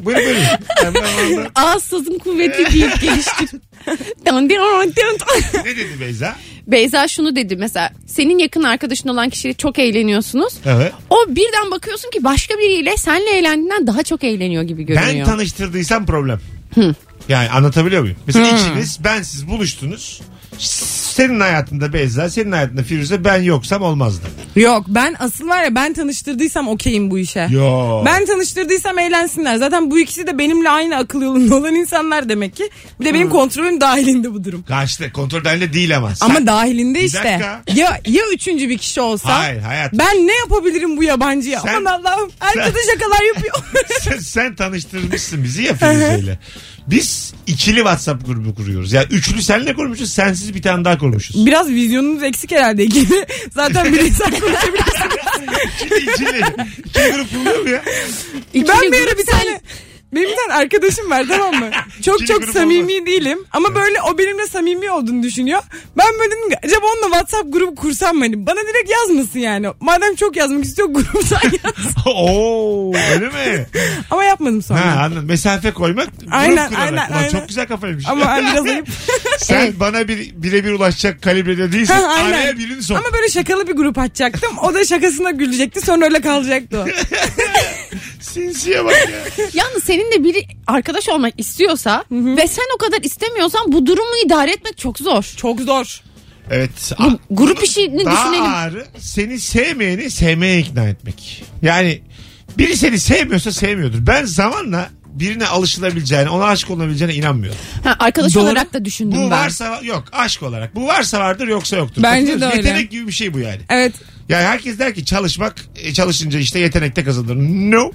[SPEAKER 2] Buyurun buyurun.
[SPEAKER 3] ağız sazın kuvveti deyip geliştir. Dön, dön, dön, dön.
[SPEAKER 2] ne dedi Beyza?
[SPEAKER 3] Beyza şunu dedi mesela senin yakın arkadaşın olan kişiyle çok eğleniyorsunuz.
[SPEAKER 2] Evet.
[SPEAKER 3] O birden bakıyorsun ki başka biriyle senle eğlendiğinden daha çok eğleniyor gibi
[SPEAKER 2] Ben
[SPEAKER 3] görünüyor.
[SPEAKER 2] tanıştırdıysam problem. Yani anlatabiliyor muyum? Mesela ikiniz, ben siz buluştunuz. Senin hayatında Beyza, senin hayatında Firuze ben yoksam olmazdı.
[SPEAKER 4] Yok ben asıl var ya ben tanıştırdıysam okeyim bu işe.
[SPEAKER 2] Yo.
[SPEAKER 4] Ben tanıştırdıysam eğlensinler. Zaten bu ikisi de benimle aynı akıl yolunda olan insanlar demek ki. Bir de benim kontrolüm dahilinde bu durum.
[SPEAKER 2] Kaçtı. Kontrol dahilinde değil ama. Sen-
[SPEAKER 4] Ama dahilinde
[SPEAKER 2] Bir
[SPEAKER 4] işte.
[SPEAKER 2] dakika.
[SPEAKER 4] Ya ya üçüncü bir kişi olsa.
[SPEAKER 2] Hayır, hayatım.
[SPEAKER 4] Ben ne yapabilirim bu yabancıya?
[SPEAKER 2] Sen-
[SPEAKER 4] Aman Allah'ım. Herkese şakalar yapıyor.
[SPEAKER 2] sen, sen tanıştırmışsın bizi ya Firuze'yle. Biz ikili WhatsApp grubu kuruyoruz. Ya yani üçlü senle kurmuşuz, sensiz bir tane daha kurmuşuz.
[SPEAKER 4] Biraz vizyonunuz eksik herhalde gibi. Zaten bireysel konuşabilirsiniz.
[SPEAKER 2] ikili ikili. İkili grup kuruluyor mu ya?
[SPEAKER 3] İkili
[SPEAKER 4] ben bir
[SPEAKER 3] grup
[SPEAKER 4] ara bir
[SPEAKER 3] sen-
[SPEAKER 4] tane benim bir tane arkadaşım var tamam mı?
[SPEAKER 2] İkili
[SPEAKER 4] Çok çok
[SPEAKER 2] grup
[SPEAKER 4] samimi değilim. Ama böyle o benimle samimi olduğunu düşünüyor. Ben böyle dedim ki acaba onunla WhatsApp grubu kursam mı? Hani bana direkt yazmasın yani. Madem çok yazmak istiyor gruptan yaz.
[SPEAKER 2] Oo, öyle mi?
[SPEAKER 4] ama yapmadım sonra.
[SPEAKER 2] Ha, anladım. Mesafe koymak,
[SPEAKER 4] Aynen,
[SPEAKER 2] grup kurarak.
[SPEAKER 4] aynen,
[SPEAKER 2] Ulan
[SPEAKER 4] aynen.
[SPEAKER 2] Çok güzel kafaymış.
[SPEAKER 4] Ama hani biraz ayıp.
[SPEAKER 2] Sen bana bir, birebir ulaşacak kalibrede değilsin.
[SPEAKER 4] Ha, aynen.
[SPEAKER 2] Araya birini sok.
[SPEAKER 4] Ama böyle şakalı bir grup açacaktım. O da şakasına gülecekti. Sonra öyle kalacaktı. o.
[SPEAKER 2] Sinsiye bak ya.
[SPEAKER 3] Yalnız senin de biri arkadaş olmak istiyorsa ve sen o kadar istemiyorsan bu durumu idare etmek çok zor.
[SPEAKER 4] Çok zor.
[SPEAKER 2] Evet.
[SPEAKER 3] Bu grup işini
[SPEAKER 2] Daha
[SPEAKER 3] düşünelim.
[SPEAKER 2] ağırı seni sevmeyeni sevmeye ikna etmek. Yani biri seni sevmiyorsa sevmiyordur. Ben zamanla birine alışılabileceğine, ona aşık olabileceğine inanmıyorum.
[SPEAKER 3] Ha, arkadaş
[SPEAKER 4] Doğru.
[SPEAKER 3] olarak da düşündüm
[SPEAKER 2] Bu
[SPEAKER 3] ben.
[SPEAKER 2] varsa yok aşk olarak. Bu varsa vardır yoksa yoktur.
[SPEAKER 4] Bence
[SPEAKER 2] Katılıyor
[SPEAKER 4] de
[SPEAKER 2] musun?
[SPEAKER 4] öyle.
[SPEAKER 2] Yetenek gibi bir şey bu yani.
[SPEAKER 4] Evet.
[SPEAKER 2] Yani herkes der ki çalışmak e, çalışınca işte yetenekte kazanılır. No.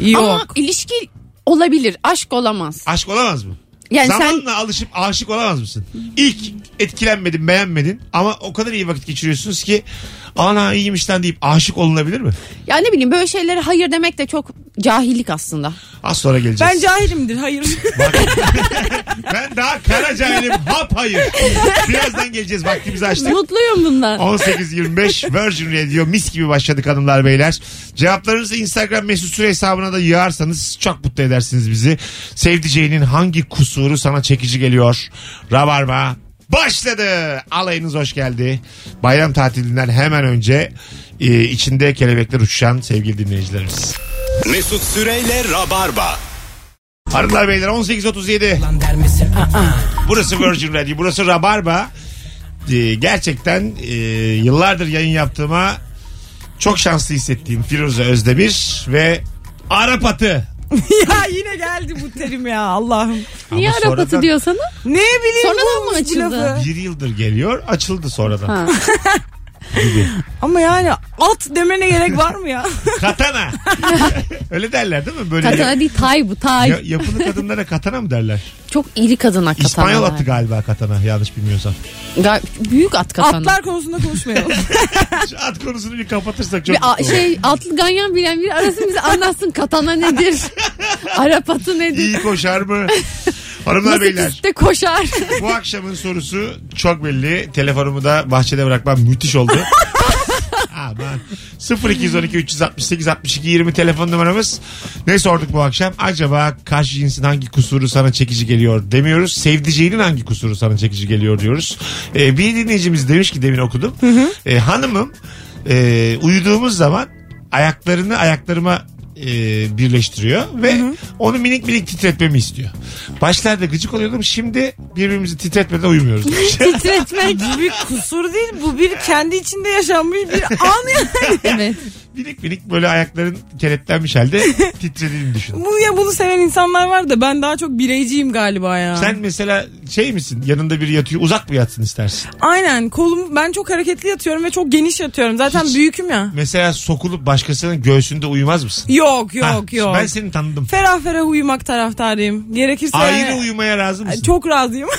[SPEAKER 4] Yok.
[SPEAKER 3] Ama ilişki olabilir, aşk olamaz.
[SPEAKER 2] Aşk olamaz mı?
[SPEAKER 3] Yani sen-
[SPEAKER 2] Zamanla alışıp aşık olamaz mısın? İlk etkilenmedin beğenmedin ama o kadar iyi vakit geçiriyorsunuz ki ana iyiymiş lan deyip aşık olunabilir mi?
[SPEAKER 3] Ya ne bileyim böyle şeylere hayır demek de çok cahillik aslında.
[SPEAKER 2] Az sonra
[SPEAKER 4] Ben
[SPEAKER 2] geleceğiz.
[SPEAKER 4] cahilimdir hayır.
[SPEAKER 2] Ben daha kara cahilim hap hayır. Birazdan geleceğiz vaktimizi açtık.
[SPEAKER 3] Mutluyum bundan.
[SPEAKER 2] 18.25 Virgin Radio mis gibi başladık hanımlar beyler. Cevaplarınızı Instagram mesut süre hesabına da yığarsanız çok mutlu edersiniz bizi. Sevdiceğinin hangi kusuru sana çekici geliyor? Rabarba başladı. Alayınız hoş geldi. Bayram tatilinden hemen önce e, içinde kelebekler uçuşan sevgili dinleyicilerimiz.
[SPEAKER 1] Mesut Süreyle Rabarba.
[SPEAKER 2] Hanımlar beyler 18.37. Burası Virgin Radio, burası Rabarba. Ee, gerçekten e, yıllardır yayın yaptığıma çok şanslı hissettiğim Firuze Özdemir ve Arap atı.
[SPEAKER 4] ya yine geldi bu terim ya Allah'ım.
[SPEAKER 3] Niye
[SPEAKER 2] Ama
[SPEAKER 3] Arap
[SPEAKER 2] sonradan
[SPEAKER 3] atı diyor sana?
[SPEAKER 4] Ne bileyim
[SPEAKER 3] Sonradan
[SPEAKER 4] bu
[SPEAKER 3] mı
[SPEAKER 4] olmuş bu
[SPEAKER 3] açıldı?
[SPEAKER 4] lafı.
[SPEAKER 2] Bir yıldır geliyor, açıldı sonradan.
[SPEAKER 3] Ha.
[SPEAKER 4] Ama yani at demene gerek var mı ya?
[SPEAKER 2] Katana. Öyle derler değil mi? Böyle
[SPEAKER 3] Katana değil tay bu tay.
[SPEAKER 2] Ya, yapılı kadınlara katana mı derler?
[SPEAKER 3] Çok iri kadın hakikaten.
[SPEAKER 2] İspanyol
[SPEAKER 3] onlar.
[SPEAKER 2] atı galiba katana yanlış bilmiyorsam.
[SPEAKER 3] Ga- büyük at katana.
[SPEAKER 4] Atlar konusunda konuşmayalım.
[SPEAKER 2] Şu at konusunu bir kapatırsak çok
[SPEAKER 3] Bir a-
[SPEAKER 2] mutlu olurum.
[SPEAKER 3] şey atlı ganyan bilen biri arasın bize anlatsın katana nedir? Arap atı nedir?
[SPEAKER 2] İyi koşar mı? Hanımlar
[SPEAKER 3] Nasıl
[SPEAKER 2] beyler.
[SPEAKER 3] pistte koşar?
[SPEAKER 2] Bu akşamın sorusu çok belli. Telefonumu da bahçede bırakmam müthiş oldu. Aman. 0212 368 62 20 telefon numaramız. Ne sorduk bu akşam? Acaba karşı cinsin hangi kusuru sana çekici geliyor demiyoruz. Sevdiceğinin hangi kusuru sana çekici geliyor diyoruz. Ee, bir dinleyicimiz demiş ki demin okudum. Ee, hanımım e, uyuduğumuz zaman ayaklarını ayaklarıma e, birleştiriyor ve onu minik minik titretmemi istiyor. Başlarda gıcık oluyordum. Şimdi birbirimizi titretmeden uyumuyoruz. demiş.
[SPEAKER 3] Titretmek.
[SPEAKER 4] bu bir kusur değil bu bir kendi içinde yaşanmış bir an yani.
[SPEAKER 3] evet.
[SPEAKER 2] minik minik böyle ayakların keleplenmiş halde titrediğini düşün.
[SPEAKER 4] Bu ya bunu seven insanlar var da ben daha çok bireyciyim galiba ya.
[SPEAKER 2] Sen mesela şey misin yanında biri yatıyor uzak mı yatsın istersin?
[SPEAKER 4] Aynen kolum ben çok hareketli yatıyorum ve çok geniş yatıyorum. Zaten
[SPEAKER 2] Hiç-
[SPEAKER 4] büyüküm ya.
[SPEAKER 2] Mesela sokulup başkasının göğsünde uyumaz mısın?
[SPEAKER 4] Yok yok
[SPEAKER 2] Ha,
[SPEAKER 4] yok.
[SPEAKER 2] Ben seni tanıdım.
[SPEAKER 4] Ferah ferah uyumak taraftarıyım. Gerekirse
[SPEAKER 2] Ayrı
[SPEAKER 4] yani-
[SPEAKER 2] uyumaya razı mısın?
[SPEAKER 4] çok razıyım.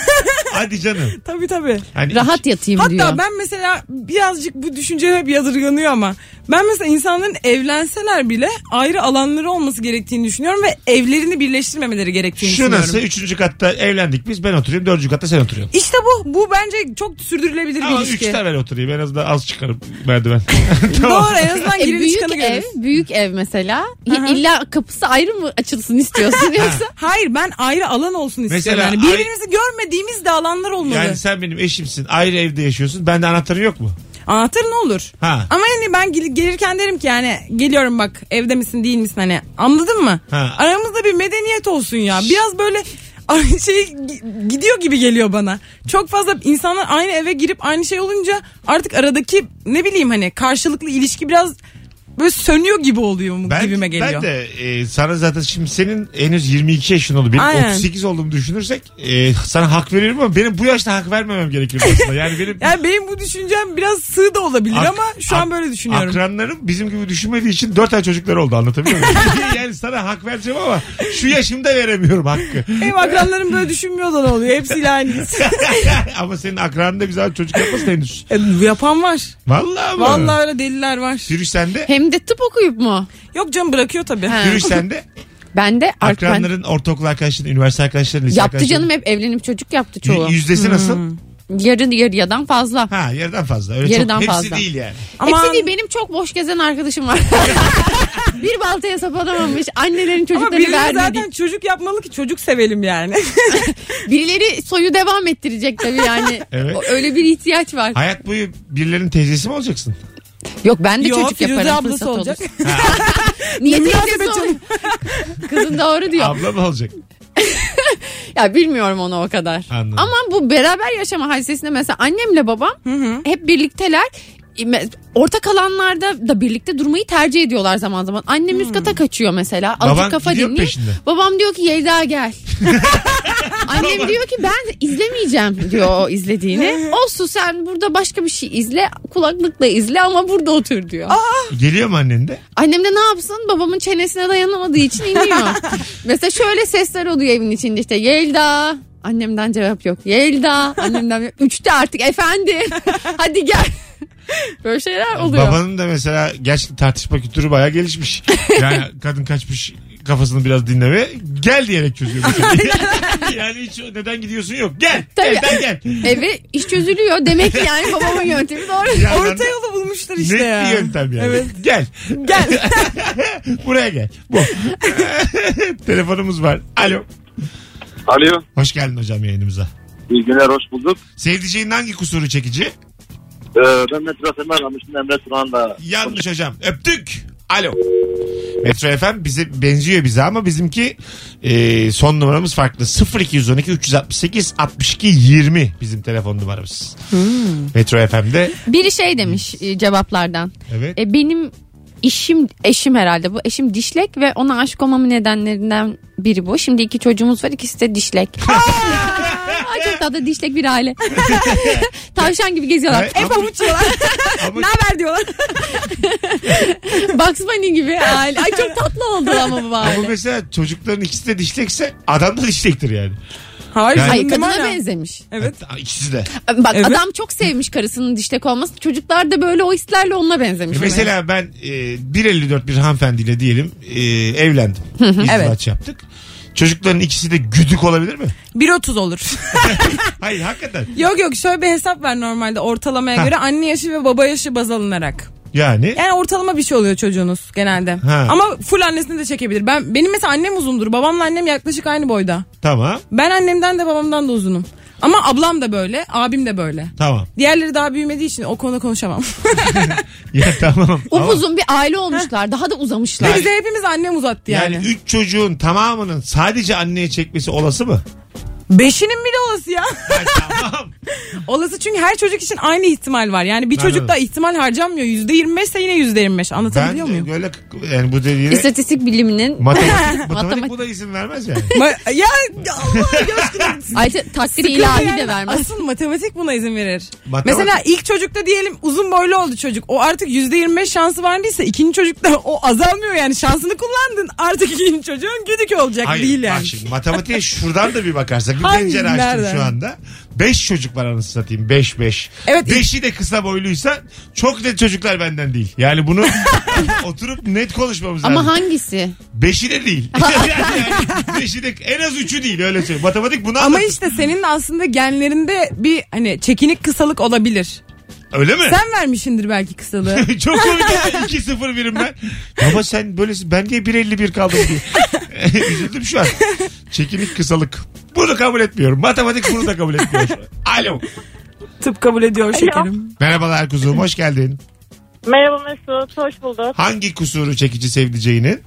[SPEAKER 2] Hadi canım.
[SPEAKER 4] tabii tabii.
[SPEAKER 2] Hani
[SPEAKER 3] Rahat yatayım
[SPEAKER 4] Hatta
[SPEAKER 3] diyor.
[SPEAKER 4] ben mesela birazcık bu düşünce hep yadırganıyor ama ben mesela insanların evlenseler bile ayrı alanları olması gerektiğini düşünüyorum ve evlerini birleştirmemeleri gerektiğini
[SPEAKER 2] Şu
[SPEAKER 4] düşünüyorum.
[SPEAKER 2] nasıl? Üçüncü katta evlendik biz. Ben oturuyorum. Dördüncü katta sen oturuyorsun.
[SPEAKER 4] İşte bu. Bu bence çok sürdürülebilir
[SPEAKER 2] Ama
[SPEAKER 4] bir ilişki.
[SPEAKER 2] üçte ben oturayım. En azından az çıkarım merdiven.
[SPEAKER 4] Doğru en azından
[SPEAKER 3] E,
[SPEAKER 4] girip
[SPEAKER 3] büyük
[SPEAKER 4] çıkanı
[SPEAKER 3] ev,
[SPEAKER 4] görürüz.
[SPEAKER 3] büyük ev mesela. Ya İlla kapısı ayrı mı açılsın istiyorsun yoksa?
[SPEAKER 4] Hayır ben ayrı alan olsun istiyorum.
[SPEAKER 2] Mesela
[SPEAKER 4] Yani
[SPEAKER 2] ay-
[SPEAKER 4] birbirimizi görmediğimiz de alanlar olmalı.
[SPEAKER 2] Yani sen benim eşimsin. Ayrı evde yaşıyorsun. Bende anahtarın yok mu?
[SPEAKER 4] Anahtar ne olur?
[SPEAKER 2] Ha.
[SPEAKER 4] Ama yani ben gel- gelirken derim ki yani geliyorum bak evde misin değil misin hani anladın mı?
[SPEAKER 2] Ha.
[SPEAKER 4] Aramızda bir medeniyet olsun ya. Biraz böyle şey gi- gidiyor gibi geliyor bana. Çok fazla insanlar aynı eve girip aynı şey olunca artık aradaki ne bileyim hani karşılıklı ilişki biraz böyle sönüyor gibi oluyor mu gibime geliyor.
[SPEAKER 2] Ben de e, sana zaten şimdi senin henüz 22 yaşın oldu. Benim
[SPEAKER 4] Aynen.
[SPEAKER 2] 38 olduğumu düşünürsek e, sana hak veririm ama benim bu yaşta hak vermemem gerekir aslında. Yani benim
[SPEAKER 4] Yani benim bu düşüncem biraz sığ da olabilir
[SPEAKER 2] Ak-
[SPEAKER 4] ama şu an
[SPEAKER 2] ak-
[SPEAKER 4] böyle düşünüyorum.
[SPEAKER 2] Akranlarım bizim gibi düşünmediği için 4 ay çocukları oldu anlatabiliyor muyum? yani sana hak vereceğim ama şu yaşımda veremiyorum hakkı.
[SPEAKER 4] Benim akranlarım böyle düşünmüyor da ne oluyor? Hepsiyle aynıyız.
[SPEAKER 2] ama senin akranında da güzel çocuk yapmasın henüz.
[SPEAKER 4] E, yapan var.
[SPEAKER 2] Vallahi mı?
[SPEAKER 4] Vallahi öyle deliler var.
[SPEAKER 2] Firuş sende.
[SPEAKER 3] Hem de tıp okuyup mu?
[SPEAKER 4] Yok canım bırakıyor tabii.
[SPEAKER 3] Ha.
[SPEAKER 2] Firuş sende.
[SPEAKER 3] Ben de artık ben-
[SPEAKER 2] Akranların ortaokul arkadaşların, üniversite arkadaşların, lise
[SPEAKER 3] yaptı
[SPEAKER 2] arkadaşların-
[SPEAKER 3] canım hep evlenip çocuk yaptı çoğu.
[SPEAKER 2] Y- Yüzdesi
[SPEAKER 4] Hmm.
[SPEAKER 2] nasıl?
[SPEAKER 3] Yarı yarıyadan fazla.
[SPEAKER 2] Ha yarıdan fazla. Öyle
[SPEAKER 3] Yarıdan
[SPEAKER 2] çok, hepsi
[SPEAKER 3] fazla.
[SPEAKER 2] değil yani.
[SPEAKER 4] Aman.
[SPEAKER 3] Hepsi değil benim çok boş gezen arkadaşım var. bir baltaya sapanamamış annelerin
[SPEAKER 4] Ama
[SPEAKER 3] çocuklarını
[SPEAKER 4] birileri
[SPEAKER 3] vermedik.
[SPEAKER 4] zaten çocuk yapmalı ki çocuk sevelim yani.
[SPEAKER 3] Birileri soyu devam ettirecek tabii yani.
[SPEAKER 2] Evet.
[SPEAKER 3] O- Öyle bir ihtiyaç var.
[SPEAKER 2] Hayat boyu birilerinin teyzesi mi olacaksın?
[SPEAKER 3] Yok ben de
[SPEAKER 4] Yo,
[SPEAKER 3] çocuk
[SPEAKER 4] Firuze
[SPEAKER 3] yaparım
[SPEAKER 4] ablası
[SPEAKER 3] fırsat
[SPEAKER 4] olacak.
[SPEAKER 3] olursa. Niye
[SPEAKER 4] Ne
[SPEAKER 3] teyzesi
[SPEAKER 4] münasebet
[SPEAKER 3] olur? Kızın doğru diyor.
[SPEAKER 2] Abla mı olacak?
[SPEAKER 3] Ya bilmiyorum onu o kadar.
[SPEAKER 2] Anladım.
[SPEAKER 3] Ama bu beraber yaşama hadisesinde mesela annemle babam hep birlikteler. E, Me- Ortak alanlarda da birlikte durmayı tercih ediyorlar zaman zaman. Annem üst kata kaçıyor mesela.
[SPEAKER 2] Baban
[SPEAKER 3] Azıcık kafa
[SPEAKER 2] gidiyor mu
[SPEAKER 3] dinliyor.
[SPEAKER 2] peşinden?
[SPEAKER 3] Babam diyor ki Yelda gel. Annem diyor ki ben izlemeyeceğim diyor o izlediğini. Olsun sen burada başka bir şey izle. Kulaklıkla izle ama burada otur diyor.
[SPEAKER 2] Geliyor mu annen de?
[SPEAKER 3] Annem de ne yapsın babamın çenesine dayanamadığı için iniyor. Mesela şöyle sesler oluyor evin içinde işte Yelda. Annemden cevap yok. Yelda. Annemden üçte artık efendi. Hadi gel. Böyle şeyler oluyor.
[SPEAKER 2] Babanın da mesela gerçekten tartışma kültürü bayağı gelişmiş. Yani kadın kaçmış kafasını biraz dinleme. Gel diyerek çözüyor. meseleyi. yani hiç neden gidiyorsun yok. Gel.
[SPEAKER 3] Tabii.
[SPEAKER 2] Evden gel.
[SPEAKER 3] Eve iş çözülüyor. Demek ki yani babamın yöntemi doğru.
[SPEAKER 2] Yani
[SPEAKER 4] Orta yolu bulmuşlar işte
[SPEAKER 2] Net
[SPEAKER 4] ya.
[SPEAKER 2] bir yöntem yani.
[SPEAKER 4] Evet.
[SPEAKER 2] Gel.
[SPEAKER 4] Gel.
[SPEAKER 2] Buraya gel. Bu. Telefonumuz var. Alo.
[SPEAKER 5] Alo.
[SPEAKER 2] Hoş geldin hocam yayınımıza.
[SPEAKER 7] İyi günler hoş bulduk.
[SPEAKER 2] Sevdiceğin hangi kusuru çekici?
[SPEAKER 7] Ee, ben Metro FM aramıştım Emre Turan'la.
[SPEAKER 2] Yanlış hocam. Öptük. Alo. Metro FM bize benziyor bize ama bizimki e, son numaramız farklı. 0212 368 62 20 bizim telefon numaramız.
[SPEAKER 3] Hmm.
[SPEAKER 2] Metro FM'de
[SPEAKER 3] Biri şey demiş e, cevaplardan.
[SPEAKER 2] evet.
[SPEAKER 3] E, benim işim eşim herhalde bu eşim dişlek ve ona aşık olmamın nedenlerinden biri bu. Şimdi iki çocuğumuz var ikisi de dişlek. Aa, çok tatlı dişlek bir aile. Tavşan gibi geziyorlar.
[SPEAKER 2] Evet, ama-
[SPEAKER 3] Hep pabuç yiyorlar.
[SPEAKER 2] Ama-
[SPEAKER 3] ne haber diyorlar. Bugs Bunny gibi aile. Ay çok tatlı oldu ama bu
[SPEAKER 2] Ama
[SPEAKER 3] aile.
[SPEAKER 2] mesela çocukların ikisi de dişlekse adam da dişlektir yani.
[SPEAKER 4] Hayır.
[SPEAKER 2] Yani-
[SPEAKER 3] Hayır kadına
[SPEAKER 4] numara.
[SPEAKER 3] benzemiş.
[SPEAKER 4] Evet.
[SPEAKER 2] Hatta İkisi de.
[SPEAKER 3] E, Bak
[SPEAKER 4] Evet.
[SPEAKER 3] adam çok sevmiş karısının dişlek olmasını. Çocuklar da böyle o hislerle onunla benzemiş.
[SPEAKER 2] E mesela ben e, 1.54 bir hanımefendiyle diyelim e, evlendim. İzdivaç yaptık. Çocukların ikisi de güdük olabilir mi?
[SPEAKER 4] 1.30 olur.
[SPEAKER 2] Hayır hakikaten.
[SPEAKER 4] yok yok şöyle bir hesap ver normalde ortalamaya
[SPEAKER 2] Ha.
[SPEAKER 4] göre anne yaşı ve baba yaşı baz alınarak.
[SPEAKER 2] Yani
[SPEAKER 4] Yani ortalama bir şey oluyor çocuğunuz genelde.
[SPEAKER 2] Ha.
[SPEAKER 4] Ama full annesini de çekebilir. Ben benim mesela annem uzundur. Babamla annem yaklaşık aynı boyda.
[SPEAKER 2] tamam
[SPEAKER 4] Ben annemden de babamdan da uzunum. Ama ablam da böyle, abim de böyle.
[SPEAKER 2] tamam.
[SPEAKER 4] Diğerleri daha büyümediği için o konuda konuşamam.
[SPEAKER 2] Ya tamam. Ama-
[SPEAKER 3] Upuzun bir aile olmuşlar. Daha da uzamışlar.
[SPEAKER 4] Bize hepimiz annem uzattı
[SPEAKER 2] Yani,
[SPEAKER 4] yani.
[SPEAKER 2] üç çocuğun tamamının sadece anneye çekmesi olası mı?
[SPEAKER 4] Beşinin bile olası ya.
[SPEAKER 2] Ha, tamam.
[SPEAKER 4] olası çünkü her çocuk için aynı ihtimal var. Yani bir
[SPEAKER 2] Ben
[SPEAKER 4] çocuk da
[SPEAKER 2] anladım.
[SPEAKER 4] ihtimal harcanmıyor. Yüzde yirmi beşse yine yüzde yirmi beş.
[SPEAKER 2] Ben
[SPEAKER 4] Anlatabiliyor muyum?
[SPEAKER 2] böyle yani bu dediğine
[SPEAKER 3] İstatistik biliminin
[SPEAKER 2] matematik, matematik
[SPEAKER 3] Matematik.
[SPEAKER 2] buna izin vermez yani.
[SPEAKER 4] Ma- ya Allah aşkına.
[SPEAKER 3] Ayrıca takdiri
[SPEAKER 4] Sıkıntı
[SPEAKER 3] ilahi
[SPEAKER 4] yani.
[SPEAKER 3] de vermez.
[SPEAKER 4] Asıl matematik buna izin verir.
[SPEAKER 2] Matematik-
[SPEAKER 4] Mesela ilk çocukta diyelim uzun boylu oldu çocuk. O artık %25 şansı vardıysa ikinci çocukta o azalmıyor yani. Şansını kullandın. Artık ikinci çocuğun güdük olacak
[SPEAKER 2] Hayır
[SPEAKER 4] değil yani.
[SPEAKER 2] bak şimdi matematiğe şuradan da bir bakarsak bir
[SPEAKER 4] Hayır,
[SPEAKER 2] pencere açtım
[SPEAKER 4] nereden?
[SPEAKER 2] şu anda. Beş çocuk var anasını satayım beş beş.
[SPEAKER 4] Evet.
[SPEAKER 2] Beşi de kısa boyluysa çok net çocuklar benden değil. Yani bunu oturup net konuşmamız
[SPEAKER 3] Ama
[SPEAKER 2] lazım.
[SPEAKER 3] hangisi?
[SPEAKER 2] Beşi de değil. yani, beşi de en az üçü değil öyle söyleyeyim. Matematik bunu
[SPEAKER 4] Ama
[SPEAKER 2] anlatır.
[SPEAKER 4] işte senin de aslında genlerinde bir hani çekinik kısalık olabilir.
[SPEAKER 2] Öyle mi?
[SPEAKER 4] Sen vermişindir belki kısalığı.
[SPEAKER 2] Çok komik ama 2-0 birim ben. Baba sen böylesin. Ben niye 1.51 kaldım diye. Üzüldüm şu an. Çekinik kısalık. Bunu kabul etmiyorum. Matematik bunu da kabul etmiyor. Alo.
[SPEAKER 4] Tıp kabul ediyor şekerim.
[SPEAKER 2] Merhabalar kuzum. Hoş geldin.
[SPEAKER 8] Merhaba Mesut, hoş bulduk.
[SPEAKER 2] Hangi kusuru çekici sevdiceğinin?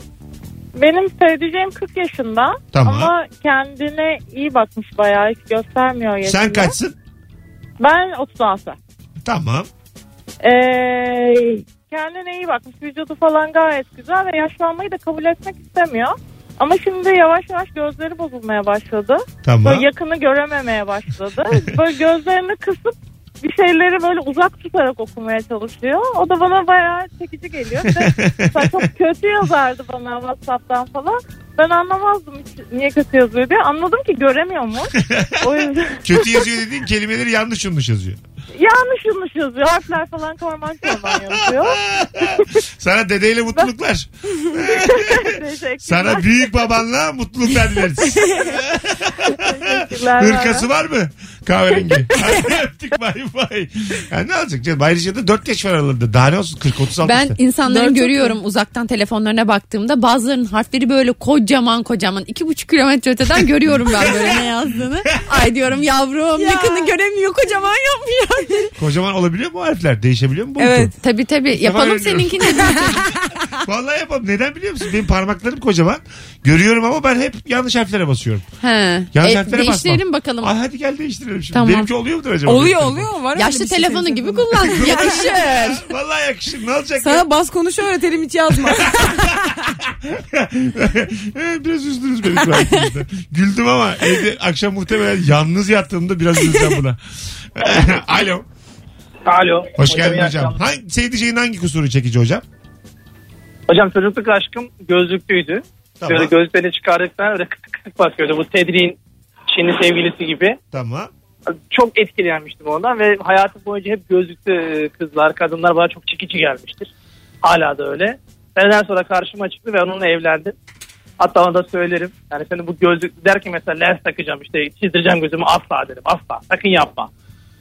[SPEAKER 8] Benim sevdiceğim 40 yaşında
[SPEAKER 2] Tamam.
[SPEAKER 8] ama kendine iyi bakmış bayağı, hiç göstermiyor yaşını.
[SPEAKER 2] Sen kaçsın?
[SPEAKER 8] Ben 36.
[SPEAKER 2] Tamam.
[SPEAKER 8] Ee, kendine iyi bakmış, vücudu falan gayet güzel ve yaşlanmayı da kabul etmek istemiyor. Ama şimdi yavaş yavaş gözleri bozulmaya başladı.
[SPEAKER 2] Tamam.
[SPEAKER 8] Böyle yakını görememeye başladı. Böyle gözlerini kısıp bir şeyleri böyle uzak tutarak okumaya çalışıyor. O da bana bayağı çekici geliyor. Bir de mesela çok kötü yazardı bana WhatsApp'tan falan. Ben anlamazdım hiç niye kötü yazıyor diye. Anladım ki göremiyormuş. O yüzden
[SPEAKER 2] Kötü yazıyor dediğin kelimeleri yanlış yanlış yazıyor.
[SPEAKER 8] yanlış yanlış yazıyor. Harfler falan karman karman yazıyor.
[SPEAKER 2] Sana dedeyle mutluluklar.
[SPEAKER 8] Teşekkürler.
[SPEAKER 2] Sana büyük babanla mutluluklar dileriz.
[SPEAKER 8] Teşekkürler.
[SPEAKER 2] Hırkası var mı? Kahverengi. Hadi Öptük bay bay. Yani ne olacak canım? Ayrıca da 4 yaş var aralarında. Daha ne olsun 40-36
[SPEAKER 3] Ben insanları
[SPEAKER 4] Dört
[SPEAKER 3] görüyorum uzaktan telefonlarına baktığımda bazılarının harfleri böyle kocaman kocaman iki buçuk kilometre öteden görüyorum ben böyle ne yazdığını. Ay diyorum yavrum
[SPEAKER 4] Ya.
[SPEAKER 3] yakını göremiyor kocaman yapmıyor.
[SPEAKER 2] Kocaman olabiliyor mu harfler? Değişebiliyor mu bu?
[SPEAKER 4] Evet.
[SPEAKER 3] Tabii tabii
[SPEAKER 2] Tamam,
[SPEAKER 3] yapalım
[SPEAKER 2] öyle diyorum.
[SPEAKER 3] seninkini.
[SPEAKER 2] Vallahi yapamam. Neden biliyor musun? Benim parmaklarım kocaman. Görüyorum ama ben hep yanlış harflere basıyorum.
[SPEAKER 3] He.
[SPEAKER 2] Yanlış
[SPEAKER 3] E,
[SPEAKER 2] harflere
[SPEAKER 3] değiştirelim
[SPEAKER 2] basmam.
[SPEAKER 3] bakalım.
[SPEAKER 2] Ay hadi gel değiştirelim şimdi.
[SPEAKER 3] Tamam.
[SPEAKER 2] Benimki oluyor mudur acaba?
[SPEAKER 4] Oluyor oluyor var. öyle
[SPEAKER 3] Yaşlı
[SPEAKER 4] bir şey
[SPEAKER 3] telefonu
[SPEAKER 4] senin
[SPEAKER 3] gibi
[SPEAKER 4] telefonun.
[SPEAKER 3] kullan. Yakışır.
[SPEAKER 2] Vallahi yakışır. Ne olacak ya?
[SPEAKER 4] Sana bas konuşu öğretelim hiç yazma.
[SPEAKER 2] Ee, biraz üzdünüz beni şu an ikiniz de. Güldüm ama evde akşam muhtemelen yalnız yattığımda biraz üzüleceğim buna. Alo.
[SPEAKER 7] Alo.
[SPEAKER 2] Hoş geldin hocam. Hangi, sevdiceğin hangi kusuru çekici hocam?
[SPEAKER 7] Hocam çocukluk aşkım gözlüklüydü.
[SPEAKER 2] Tamam.
[SPEAKER 7] Böyle gözlerini çıkardıktan böyle kısık kısık bakıyordu. Bu Tedri'nin Çinli sevgilisi gibi.
[SPEAKER 2] Tamam.
[SPEAKER 7] Çok etkilenmiştim ondan ve hayatım boyunca hep gözlüklü e, kızlar, kadınlar bana çok çekici gelmiştir. Hala da öyle. Senden sonra karşıma çıktı ve onunla evlendim. Hatta ona da söylerim. Yani senin bu gözlük der ki mesela lens takacağım işte çizdireceğim gözümü asla derim. Asla. Sakın yapma.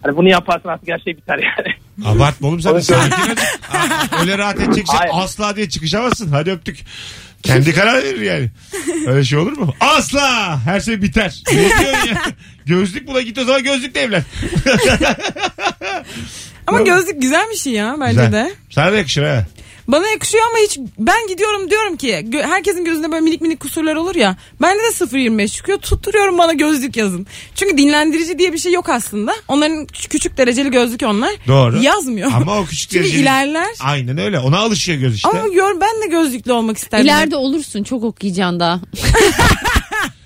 [SPEAKER 7] Hani bunu yaparsan artık her şey biter yani.
[SPEAKER 2] Abartma oğlum sen de
[SPEAKER 7] Evet.
[SPEAKER 2] sakin ol. Aa, Öyle rahat edecek şey
[SPEAKER 7] Hayır.
[SPEAKER 2] asla diye çıkışamazsın. Hadi öptük. Kendi karar verir yani. Öyle şey olur mu? Asla! Her şey biter. Ne diyorsun ya? Gözlük buna git o zaman gözlükle evlen.
[SPEAKER 4] Ama gözlük güzel bir şey ya bence
[SPEAKER 2] Güzel.
[SPEAKER 4] de.
[SPEAKER 2] Sana da yakışır ha.
[SPEAKER 4] Bana yakışıyor ama hiç ben gidiyorum diyorum ki gö- herkesin gözünde böyle minik minik kusurlar olur ya. Bende de 0.25 çıkıyor tutturuyorum bana gözlük yazın. Çünkü dinlendirici diye bir şey yok aslında. Onların küçük, küçük dereceli gözlük onlar.
[SPEAKER 2] Doğru.
[SPEAKER 4] Yazmıyor.
[SPEAKER 2] Ama o küçük
[SPEAKER 4] Çünkü
[SPEAKER 2] dereceli-
[SPEAKER 4] ilerler.
[SPEAKER 2] Aynen öyle. Ona alışıyor göz işte.
[SPEAKER 4] Ama gör ben de gözlüklü olmak isterdim.
[SPEAKER 3] İleride olursun çok okuyacaksın daha.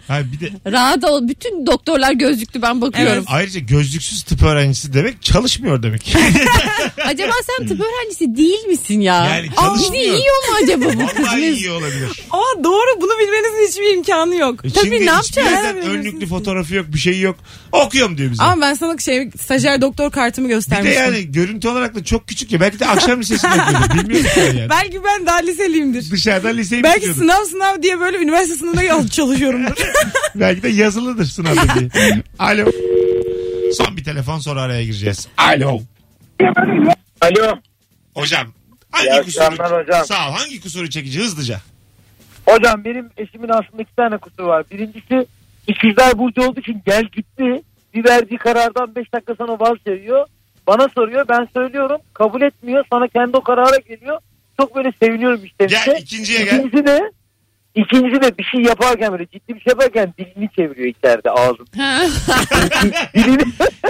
[SPEAKER 2] Ha, bir de
[SPEAKER 3] Rahat ol. Bütün doktorlar gözlüklü ben bakıyorum.
[SPEAKER 2] ayrıca gözlüksüz tıp öğrencisi demek çalışmıyor demek.
[SPEAKER 3] Acaba sen tıp öğrencisi değil misin ya?
[SPEAKER 2] Yani
[SPEAKER 3] Aa,
[SPEAKER 2] çalışmıyor.
[SPEAKER 3] bizi yiyor mu acaba bu kız?
[SPEAKER 2] Vallahi iyi olabilir.
[SPEAKER 4] Aa doğru bunu bilmenizin hiçbir imkanı yok.
[SPEAKER 2] E
[SPEAKER 3] Tabii,
[SPEAKER 2] Çünkü
[SPEAKER 3] ne
[SPEAKER 2] hiçbir
[SPEAKER 3] yapacağız?
[SPEAKER 2] yerden önlüklü fotoğrafı yok, bir şey yok. Okuyorum diyor bize.
[SPEAKER 4] Ama ben sana şey stajyer doktor kartımı
[SPEAKER 2] Bir de
[SPEAKER 4] göstermiştim.
[SPEAKER 2] yani görüntü olarak da çok küçük ya. Belki de akşam lisesinde okuyordu. Bilmiyorum sen yani.
[SPEAKER 4] Belki ben daha liseliyimdir.
[SPEAKER 2] Dışarıdan liseyi
[SPEAKER 4] Belki
[SPEAKER 2] bitiriyorduk.
[SPEAKER 4] sınav sınav diye böyle üniversite sınavında çalışıyorumdur.
[SPEAKER 2] Belki de yazılıdır sınavda diye. Alo. Son bir telefon sonra araya gireceğiz. Alo.
[SPEAKER 7] Alo.
[SPEAKER 2] Hocam. Hangi
[SPEAKER 7] İyi
[SPEAKER 2] kusuru?
[SPEAKER 7] akşamlar hocam.
[SPEAKER 2] Sağ ol. Hangi kusuru çekici hızlıca?
[SPEAKER 7] Hocam benim eşimin aslında iki tane kusuru var. Birincisi ikizler burcu olduğu için gel gitti. Bir verdiği karardan 5 dakika sonra vazgeçiyor. Bana soruyor ben söylüyorum kabul etmiyor. Sonra kendi o karara geliyor. Çok böyle seviniyorum işte.
[SPEAKER 2] Gel ikinciye gel.
[SPEAKER 7] İkincisi ne? İkincisi de bir şey yaparken böyle ciddi bir şey yaparken dilini çeviriyor içeride ağzını.
[SPEAKER 3] Ha.
[SPEAKER 7] Dilini,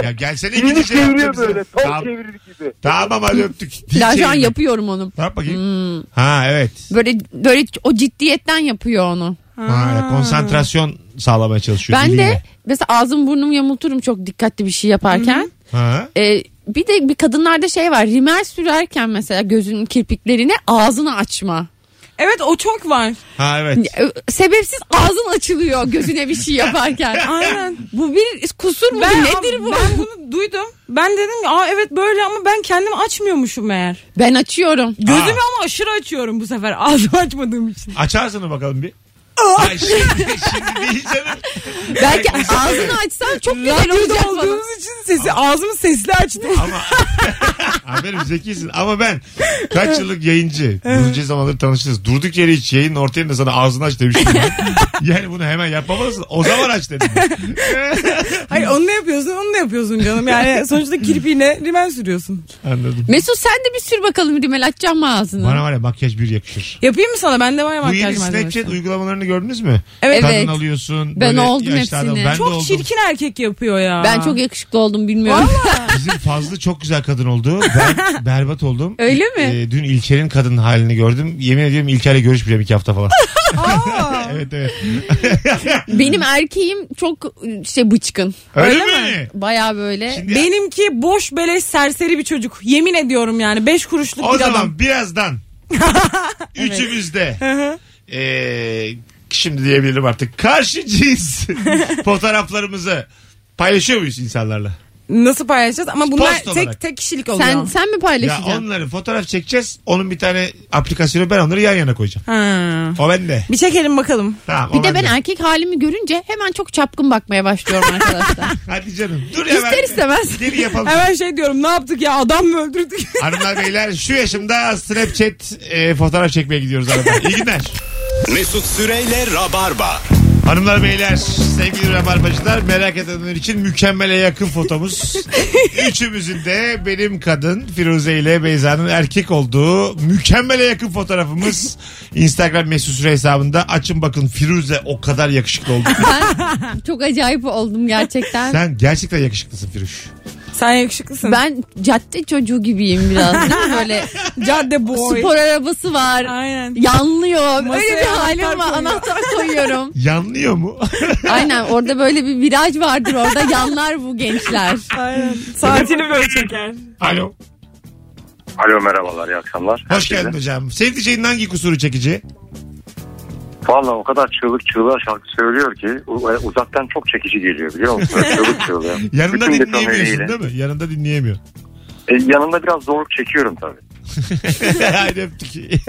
[SPEAKER 2] Ya gelsene
[SPEAKER 7] dilini
[SPEAKER 2] ikinci şey
[SPEAKER 7] çeviriyor
[SPEAKER 2] yaptı bize.
[SPEAKER 7] böyle. Top
[SPEAKER 2] Tamam,
[SPEAKER 7] çevirir gibi.
[SPEAKER 2] tamam hadi öptük. Dil
[SPEAKER 3] Ya şu an Hmm.
[SPEAKER 2] çevirme.
[SPEAKER 3] yapıyorum onu.
[SPEAKER 2] Yap bakayım. Ha evet.
[SPEAKER 3] Böyle böyle o ciddiyetten yapıyor onu.
[SPEAKER 2] Ha, konsantrasyon sağlamaya çalışıyor.
[SPEAKER 3] ben de
[SPEAKER 2] diliyle.
[SPEAKER 3] mesela ağzım burnumu yamulturum çok dikkatli bir şey yaparken.
[SPEAKER 2] Ha.
[SPEAKER 3] Ee, bir de bir kadınlarda şey var. Rimel sürerken mesela gözünün kirpiklerini ağzını açma.
[SPEAKER 4] evet o çok var.
[SPEAKER 2] ha evet.
[SPEAKER 3] Ee, Sebepsiz ağzın açılıyor gözüne bir şey yaparken.
[SPEAKER 4] Aynen.
[SPEAKER 3] Bu bir kusur mu?
[SPEAKER 4] Ben,
[SPEAKER 3] Nedir bu?
[SPEAKER 4] Ben bunu duydum. Ben dedim ki aa evet böyle ama ben kendimi açmıyormuşum meğer.
[SPEAKER 3] Ben açıyorum.
[SPEAKER 4] Gözümü ama aşırı açıyorum bu sefer ağzımı açmadığım için.
[SPEAKER 2] Açarsın bakalım bir. Ay, şimdi, şimdi değil canım.
[SPEAKER 3] Belki ağzını açsan çok güzel
[SPEAKER 4] Radyoda
[SPEAKER 3] olacak falan.
[SPEAKER 4] olduğumuz için sesi ağzımı sesli açtım.
[SPEAKER 2] Ama Aferin zekisin ama ben kaç yıllık yayıncı. Bunca zamanları tanıştınız. Durduk yere hiç yayın ortaya da sana ağzını aç demiştim. ben. yani bunu hemen yapmamalısın. O zaman aç dedim. ben.
[SPEAKER 4] Hayır onu da yapıyorsun onu da yapıyorsun canım. Yani sonuçta kirpiğine rimen sürüyorsun.
[SPEAKER 2] Anladım.
[SPEAKER 3] Mesut sen de bir sür bakalım rimel açacağım mı ağzını?
[SPEAKER 2] Bana var ya makyaj bir yakışır.
[SPEAKER 4] Yapayım mı sana? Bende var ya
[SPEAKER 2] Bu
[SPEAKER 4] makyaj
[SPEAKER 2] yeni
[SPEAKER 4] malzemesi.
[SPEAKER 2] Snapchat uygulamalarını gördünüz mü?
[SPEAKER 4] Evet.
[SPEAKER 2] Kadın
[SPEAKER 3] Evet.
[SPEAKER 2] alıyorsun.
[SPEAKER 3] Ben
[SPEAKER 2] böyle
[SPEAKER 3] oldum
[SPEAKER 2] yaşlı adam.
[SPEAKER 3] hepsini.
[SPEAKER 2] Ben de
[SPEAKER 4] Çok
[SPEAKER 2] oldum.
[SPEAKER 4] çirkin erkek yapıyor ya.
[SPEAKER 3] Ben çok yakışıklı oldum bilmiyorum.
[SPEAKER 2] Bizim Fazlı çok güzel kadın oldu. Ben berbat oldum.
[SPEAKER 3] Öyle mi?
[SPEAKER 2] Ee, dün İlker'in kadın halini gördüm. Yemin ediyorum İlker'le görüşmeyeceğim iki hafta falan. evet evet.
[SPEAKER 3] Benim erkeğim çok şey bıçkın.
[SPEAKER 2] Öyle,
[SPEAKER 4] Öyle
[SPEAKER 2] mi?
[SPEAKER 3] Baya böyle.
[SPEAKER 2] Şimdi-
[SPEAKER 4] Benimki boş beleş serseri bir çocuk. Yemin ediyorum yani 5 kuruşluk
[SPEAKER 2] O
[SPEAKER 4] bir
[SPEAKER 2] zaman
[SPEAKER 4] adam.
[SPEAKER 2] birazdan üçümüz de eee, e, şimdi diyebilirim artık karşı cins fotoğraflarımızı paylaşıyor muyuz insanlarla?
[SPEAKER 4] Nasıl paylaşacağız? Ama bunlar
[SPEAKER 2] Post olarak.
[SPEAKER 4] tek tek kişilik oluyor.
[SPEAKER 3] sen sen mi
[SPEAKER 2] Ya
[SPEAKER 3] paylaşacaksın?
[SPEAKER 2] onları fotoğraf çekeceğiz. Onun bir tane aplikasyonu ben onları yan yana koyacağım.
[SPEAKER 4] Ha.
[SPEAKER 2] O bende.
[SPEAKER 4] Bir çekelim bakalım.
[SPEAKER 2] Tamam, o
[SPEAKER 3] Bir de ben
[SPEAKER 2] bende.
[SPEAKER 3] erkek halimi görünce hemen çok çapkın bakmaya başlıyorum arkadaşlar.
[SPEAKER 2] Hadi canım. Dur ya
[SPEAKER 3] İster
[SPEAKER 2] ben-
[SPEAKER 3] istemez.
[SPEAKER 2] Geri yapalım.
[SPEAKER 4] Hemen şey diyorum ne yaptık ya adam mı öldürdük?
[SPEAKER 2] Hanımlar beyler şu yaşımda e, Snapchat eee, fotoğraf çekmeye gidiyoruz arada. İyi günler.
[SPEAKER 1] Mesut Süreyle Rabarba.
[SPEAKER 2] Hanımlar beyler sevgili rabarbacılar merak edenler için mükemmele yakın fotomuz. Üçümüzün de benim kadın Firuze ile Beyza'nın erkek olduğu mükemmele yakın fotoğrafımız. Instagram mesut süre hesabında açın bakın Firuze o kadar yakışıklı oldu.
[SPEAKER 3] Çok acayip oldum gerçekten.
[SPEAKER 2] Sen gerçekten yakışıklısın Firuş.
[SPEAKER 4] Sen yakışıklısın.
[SPEAKER 3] Ben cadde çocuğu gibiyim biraz değil mi? Böyle
[SPEAKER 4] Cadde boy.
[SPEAKER 3] spor arabası var.
[SPEAKER 4] Aynen.
[SPEAKER 3] Yanlıyor.
[SPEAKER 4] Masaya
[SPEAKER 3] Öyle bir halim var.
[SPEAKER 4] anahtar koyuyor.
[SPEAKER 3] Anahtar koyuyorum.
[SPEAKER 2] Yanlıyor mu?
[SPEAKER 3] Aynen orada böyle bir viraj vardır orada yanlar bu gençler.
[SPEAKER 4] Aynen. Saatini böyle çeker.
[SPEAKER 2] Alo.
[SPEAKER 9] Alo merhabalar iyi akşamlar.
[SPEAKER 2] Hoş geldin hocam. Sevdiceğin hangi kusuru çekici?
[SPEAKER 9] Valla o kadar çığlık çığlığa şarkı söylüyor ki u- e, uzaktan çok çekici geliyor biliyor musun? çığlık çığlığa.
[SPEAKER 2] Yanında
[SPEAKER 9] Bütün
[SPEAKER 2] dinleyemiyorsun
[SPEAKER 9] detoneyle.
[SPEAKER 2] değil mi? Yanında dinleyemiyor.
[SPEAKER 9] E, yanında biraz zorluk çekiyorum tabii.
[SPEAKER 2] Haydi öptük.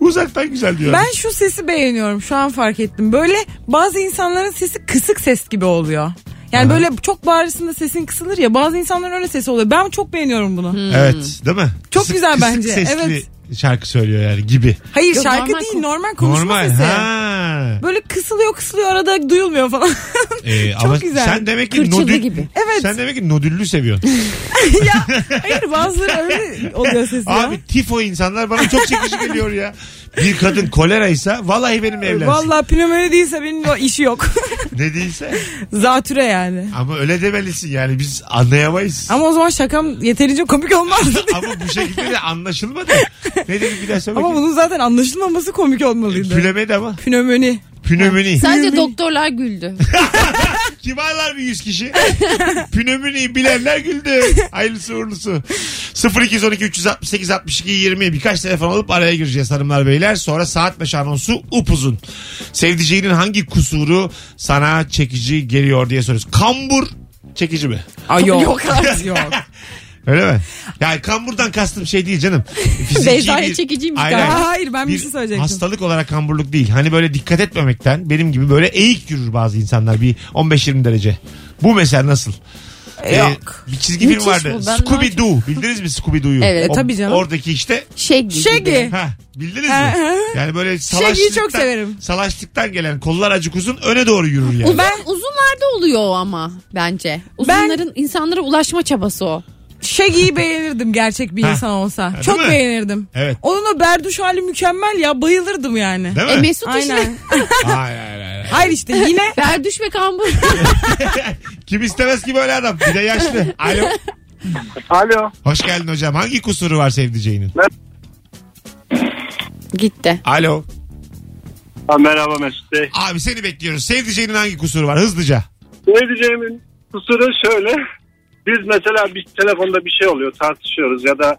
[SPEAKER 2] Uzaktan güzel diyor.
[SPEAKER 4] Ben şu sesi beğeniyorum şu an fark ettim. Böyle bazı insanların sesi kısık ses gibi oluyor. Yani böyle çok bağırırsında sesin kısılır ya bazı insanların öyle sesi oluyor. Ben çok beğeniyorum bunu.
[SPEAKER 3] Hmm.
[SPEAKER 2] Evet değil mi?
[SPEAKER 4] Hmm. Çok güzel bence,
[SPEAKER 2] sesli şarkı söylüyor yani gibi.
[SPEAKER 4] Hayır
[SPEAKER 3] Yok,
[SPEAKER 4] şarkı
[SPEAKER 3] normal
[SPEAKER 4] değil
[SPEAKER 3] kon-
[SPEAKER 4] normal konuşma
[SPEAKER 2] Normal.
[SPEAKER 4] sesi.
[SPEAKER 2] Ha.
[SPEAKER 4] Böyle kısılıyor kısılıyor arada duyulmuyor falan.
[SPEAKER 2] Ee,
[SPEAKER 4] Çok
[SPEAKER 2] ama
[SPEAKER 4] güzel.
[SPEAKER 2] Sen demek ki
[SPEAKER 3] Kırçıllı
[SPEAKER 2] nodül...
[SPEAKER 3] gibi.
[SPEAKER 4] Evet.
[SPEAKER 2] Sen demek ki nodüllü seviyorsun.
[SPEAKER 4] Hayır bazıları öyle oluyor sesi ya.
[SPEAKER 2] Abi tifo insanlar bana çok çekici geliyor ya. Bir kadın koleraysa vallahi benim evlensin.
[SPEAKER 4] Vallahi pnömoni değilse benim o işi yok.
[SPEAKER 2] Ne değilse.
[SPEAKER 4] Zatüre yani.
[SPEAKER 2] Ama öyle demelisin yani biz anlayamayız. Ama,
[SPEAKER 4] Ama o zaman şakam yeterince komik olmazdı.
[SPEAKER 2] bu şekilde de anlaşılmadı. Ne dedim bir daha söyle
[SPEAKER 4] Ama
[SPEAKER 2] bakayım.
[SPEAKER 4] bunun zaten anlaşılmaması komik olmalıydı.
[SPEAKER 2] Pülemedi ama.
[SPEAKER 4] Pnömoni.
[SPEAKER 2] Pnömoni.
[SPEAKER 3] Sadece doktorlar güldü.
[SPEAKER 2] Kibarlar bir 100 kişi. Pnömoniyi bilenler güldü. Hayırlısı uğurlusu. 0212 368 62 20 birkaç telefon alıp araya gireceğiz hanımlar beyler. Sonra saat başı anonsu upuzun. Sevdiceğinin hangi kusuru sana çekici geliyor diye soruyoruz. Kambur çekici mi?
[SPEAKER 4] Ay yok.
[SPEAKER 3] Yok artık.
[SPEAKER 4] yok.
[SPEAKER 2] Öyle mi? Yani kamburdan kastım şey değil canım. Fiziki
[SPEAKER 3] Beyza'ya
[SPEAKER 2] bir-
[SPEAKER 3] çekiciymiş
[SPEAKER 2] Aynen.
[SPEAKER 4] galiba. Hayır, ben bir şey söyleyecektim.
[SPEAKER 2] Hastalık olarak kamburluk değil. Hani böyle dikkat etmemekten benim gibi böyle eğik yürür bazı insanlar bir 15-20 derece. Bu mesela nasıl? Ee,
[SPEAKER 4] Yok.
[SPEAKER 2] bir çizgi film
[SPEAKER 3] Müthiş
[SPEAKER 2] vardı.
[SPEAKER 3] bu, ben
[SPEAKER 2] Scooby
[SPEAKER 3] daha
[SPEAKER 2] Doo. Bildiniz mi Scooby Doo'yu?
[SPEAKER 3] Evet,
[SPEAKER 2] O-
[SPEAKER 4] tabii canım.
[SPEAKER 2] Oradaki işte
[SPEAKER 3] Şey gibi.
[SPEAKER 4] Şegi.
[SPEAKER 2] ha bildiniz
[SPEAKER 4] Ha, ha.
[SPEAKER 2] mi? Yani böyle
[SPEAKER 4] çok severim.
[SPEAKER 2] salaştıktan, salaştıktan gelen kollar acık uzun öne doğru yürür yani.
[SPEAKER 3] Ben uzunlarda oluyor o ama bence. Uzunların insanlara ulaşma çabası o.
[SPEAKER 4] Şegi'yi beğenirdim gerçek bir
[SPEAKER 2] Ha.
[SPEAKER 4] insan olsa.
[SPEAKER 2] değil
[SPEAKER 4] Çok
[SPEAKER 2] mi?
[SPEAKER 4] beğenirdim.
[SPEAKER 2] Evet.
[SPEAKER 4] Onun o berduş hali mükemmel ya. Bayılırdım yani.
[SPEAKER 2] Değil mi?
[SPEAKER 3] E Mesut işte.
[SPEAKER 4] Aynen.
[SPEAKER 2] Hayır hayır hayır.
[SPEAKER 4] Hayır işte yine
[SPEAKER 3] Berduş ve kambur.
[SPEAKER 2] Kim istemez ki böyle adam? Bir de yaşlı. Alo.
[SPEAKER 6] Alo.
[SPEAKER 2] Hoş geldin hocam. Hangi kusuru var sevdiceğinin?
[SPEAKER 3] Gitti.
[SPEAKER 2] Alo.
[SPEAKER 7] merhaba Mesut Bey.
[SPEAKER 2] Abi seni bekliyoruz. Sevdiceğinin hangi kusuru var? Hızlıca.
[SPEAKER 7] Ne diyeceğimin kusuru şöyle. Biz mesela bir telefonda bir şey oluyor tartışıyoruz ya da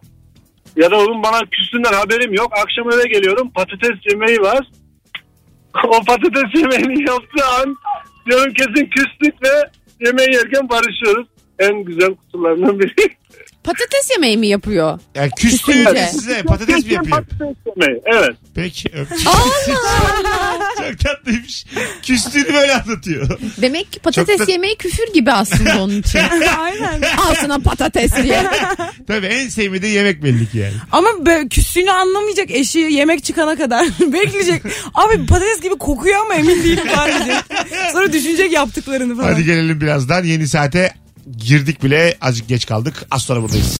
[SPEAKER 7] ya da onun bana küstüğünden haberim yok. Akşam eve geliyorum patates yemeği var. O patates yemeğini yaptığı an diyorum kesin küslük ve yemeği yerken barışıyoruz. En güzel kusurlarından biri.
[SPEAKER 3] Patates yemeği mi yapıyor?
[SPEAKER 2] Yani küstü
[SPEAKER 3] Kesinlikle.
[SPEAKER 2] size patates mi yapıyor?
[SPEAKER 7] Patates yemeği evet.
[SPEAKER 2] Peki öptüm. Çok tatlıymış. Küstüğünü böyle anlatıyor.
[SPEAKER 3] Demek ki patates
[SPEAKER 2] Çok da-
[SPEAKER 3] yemeği küfür gibi aslında onun için.
[SPEAKER 4] aynen.
[SPEAKER 3] Altına patates diye.
[SPEAKER 2] Tabii en sevmediği yemek belli ki yani.
[SPEAKER 4] Ama böyle küstüğünü anlamayacak eşi yemek çıkana kadar bekleyecek. Abi patates gibi kokuyor ama emin değilim bari diyecek. Sonra düşünecek yaptıklarını falan.
[SPEAKER 2] Hadi gelelim birazdan. Yeni saate girdik bile. Azıcık geç kaldık. Az sonra buradayız.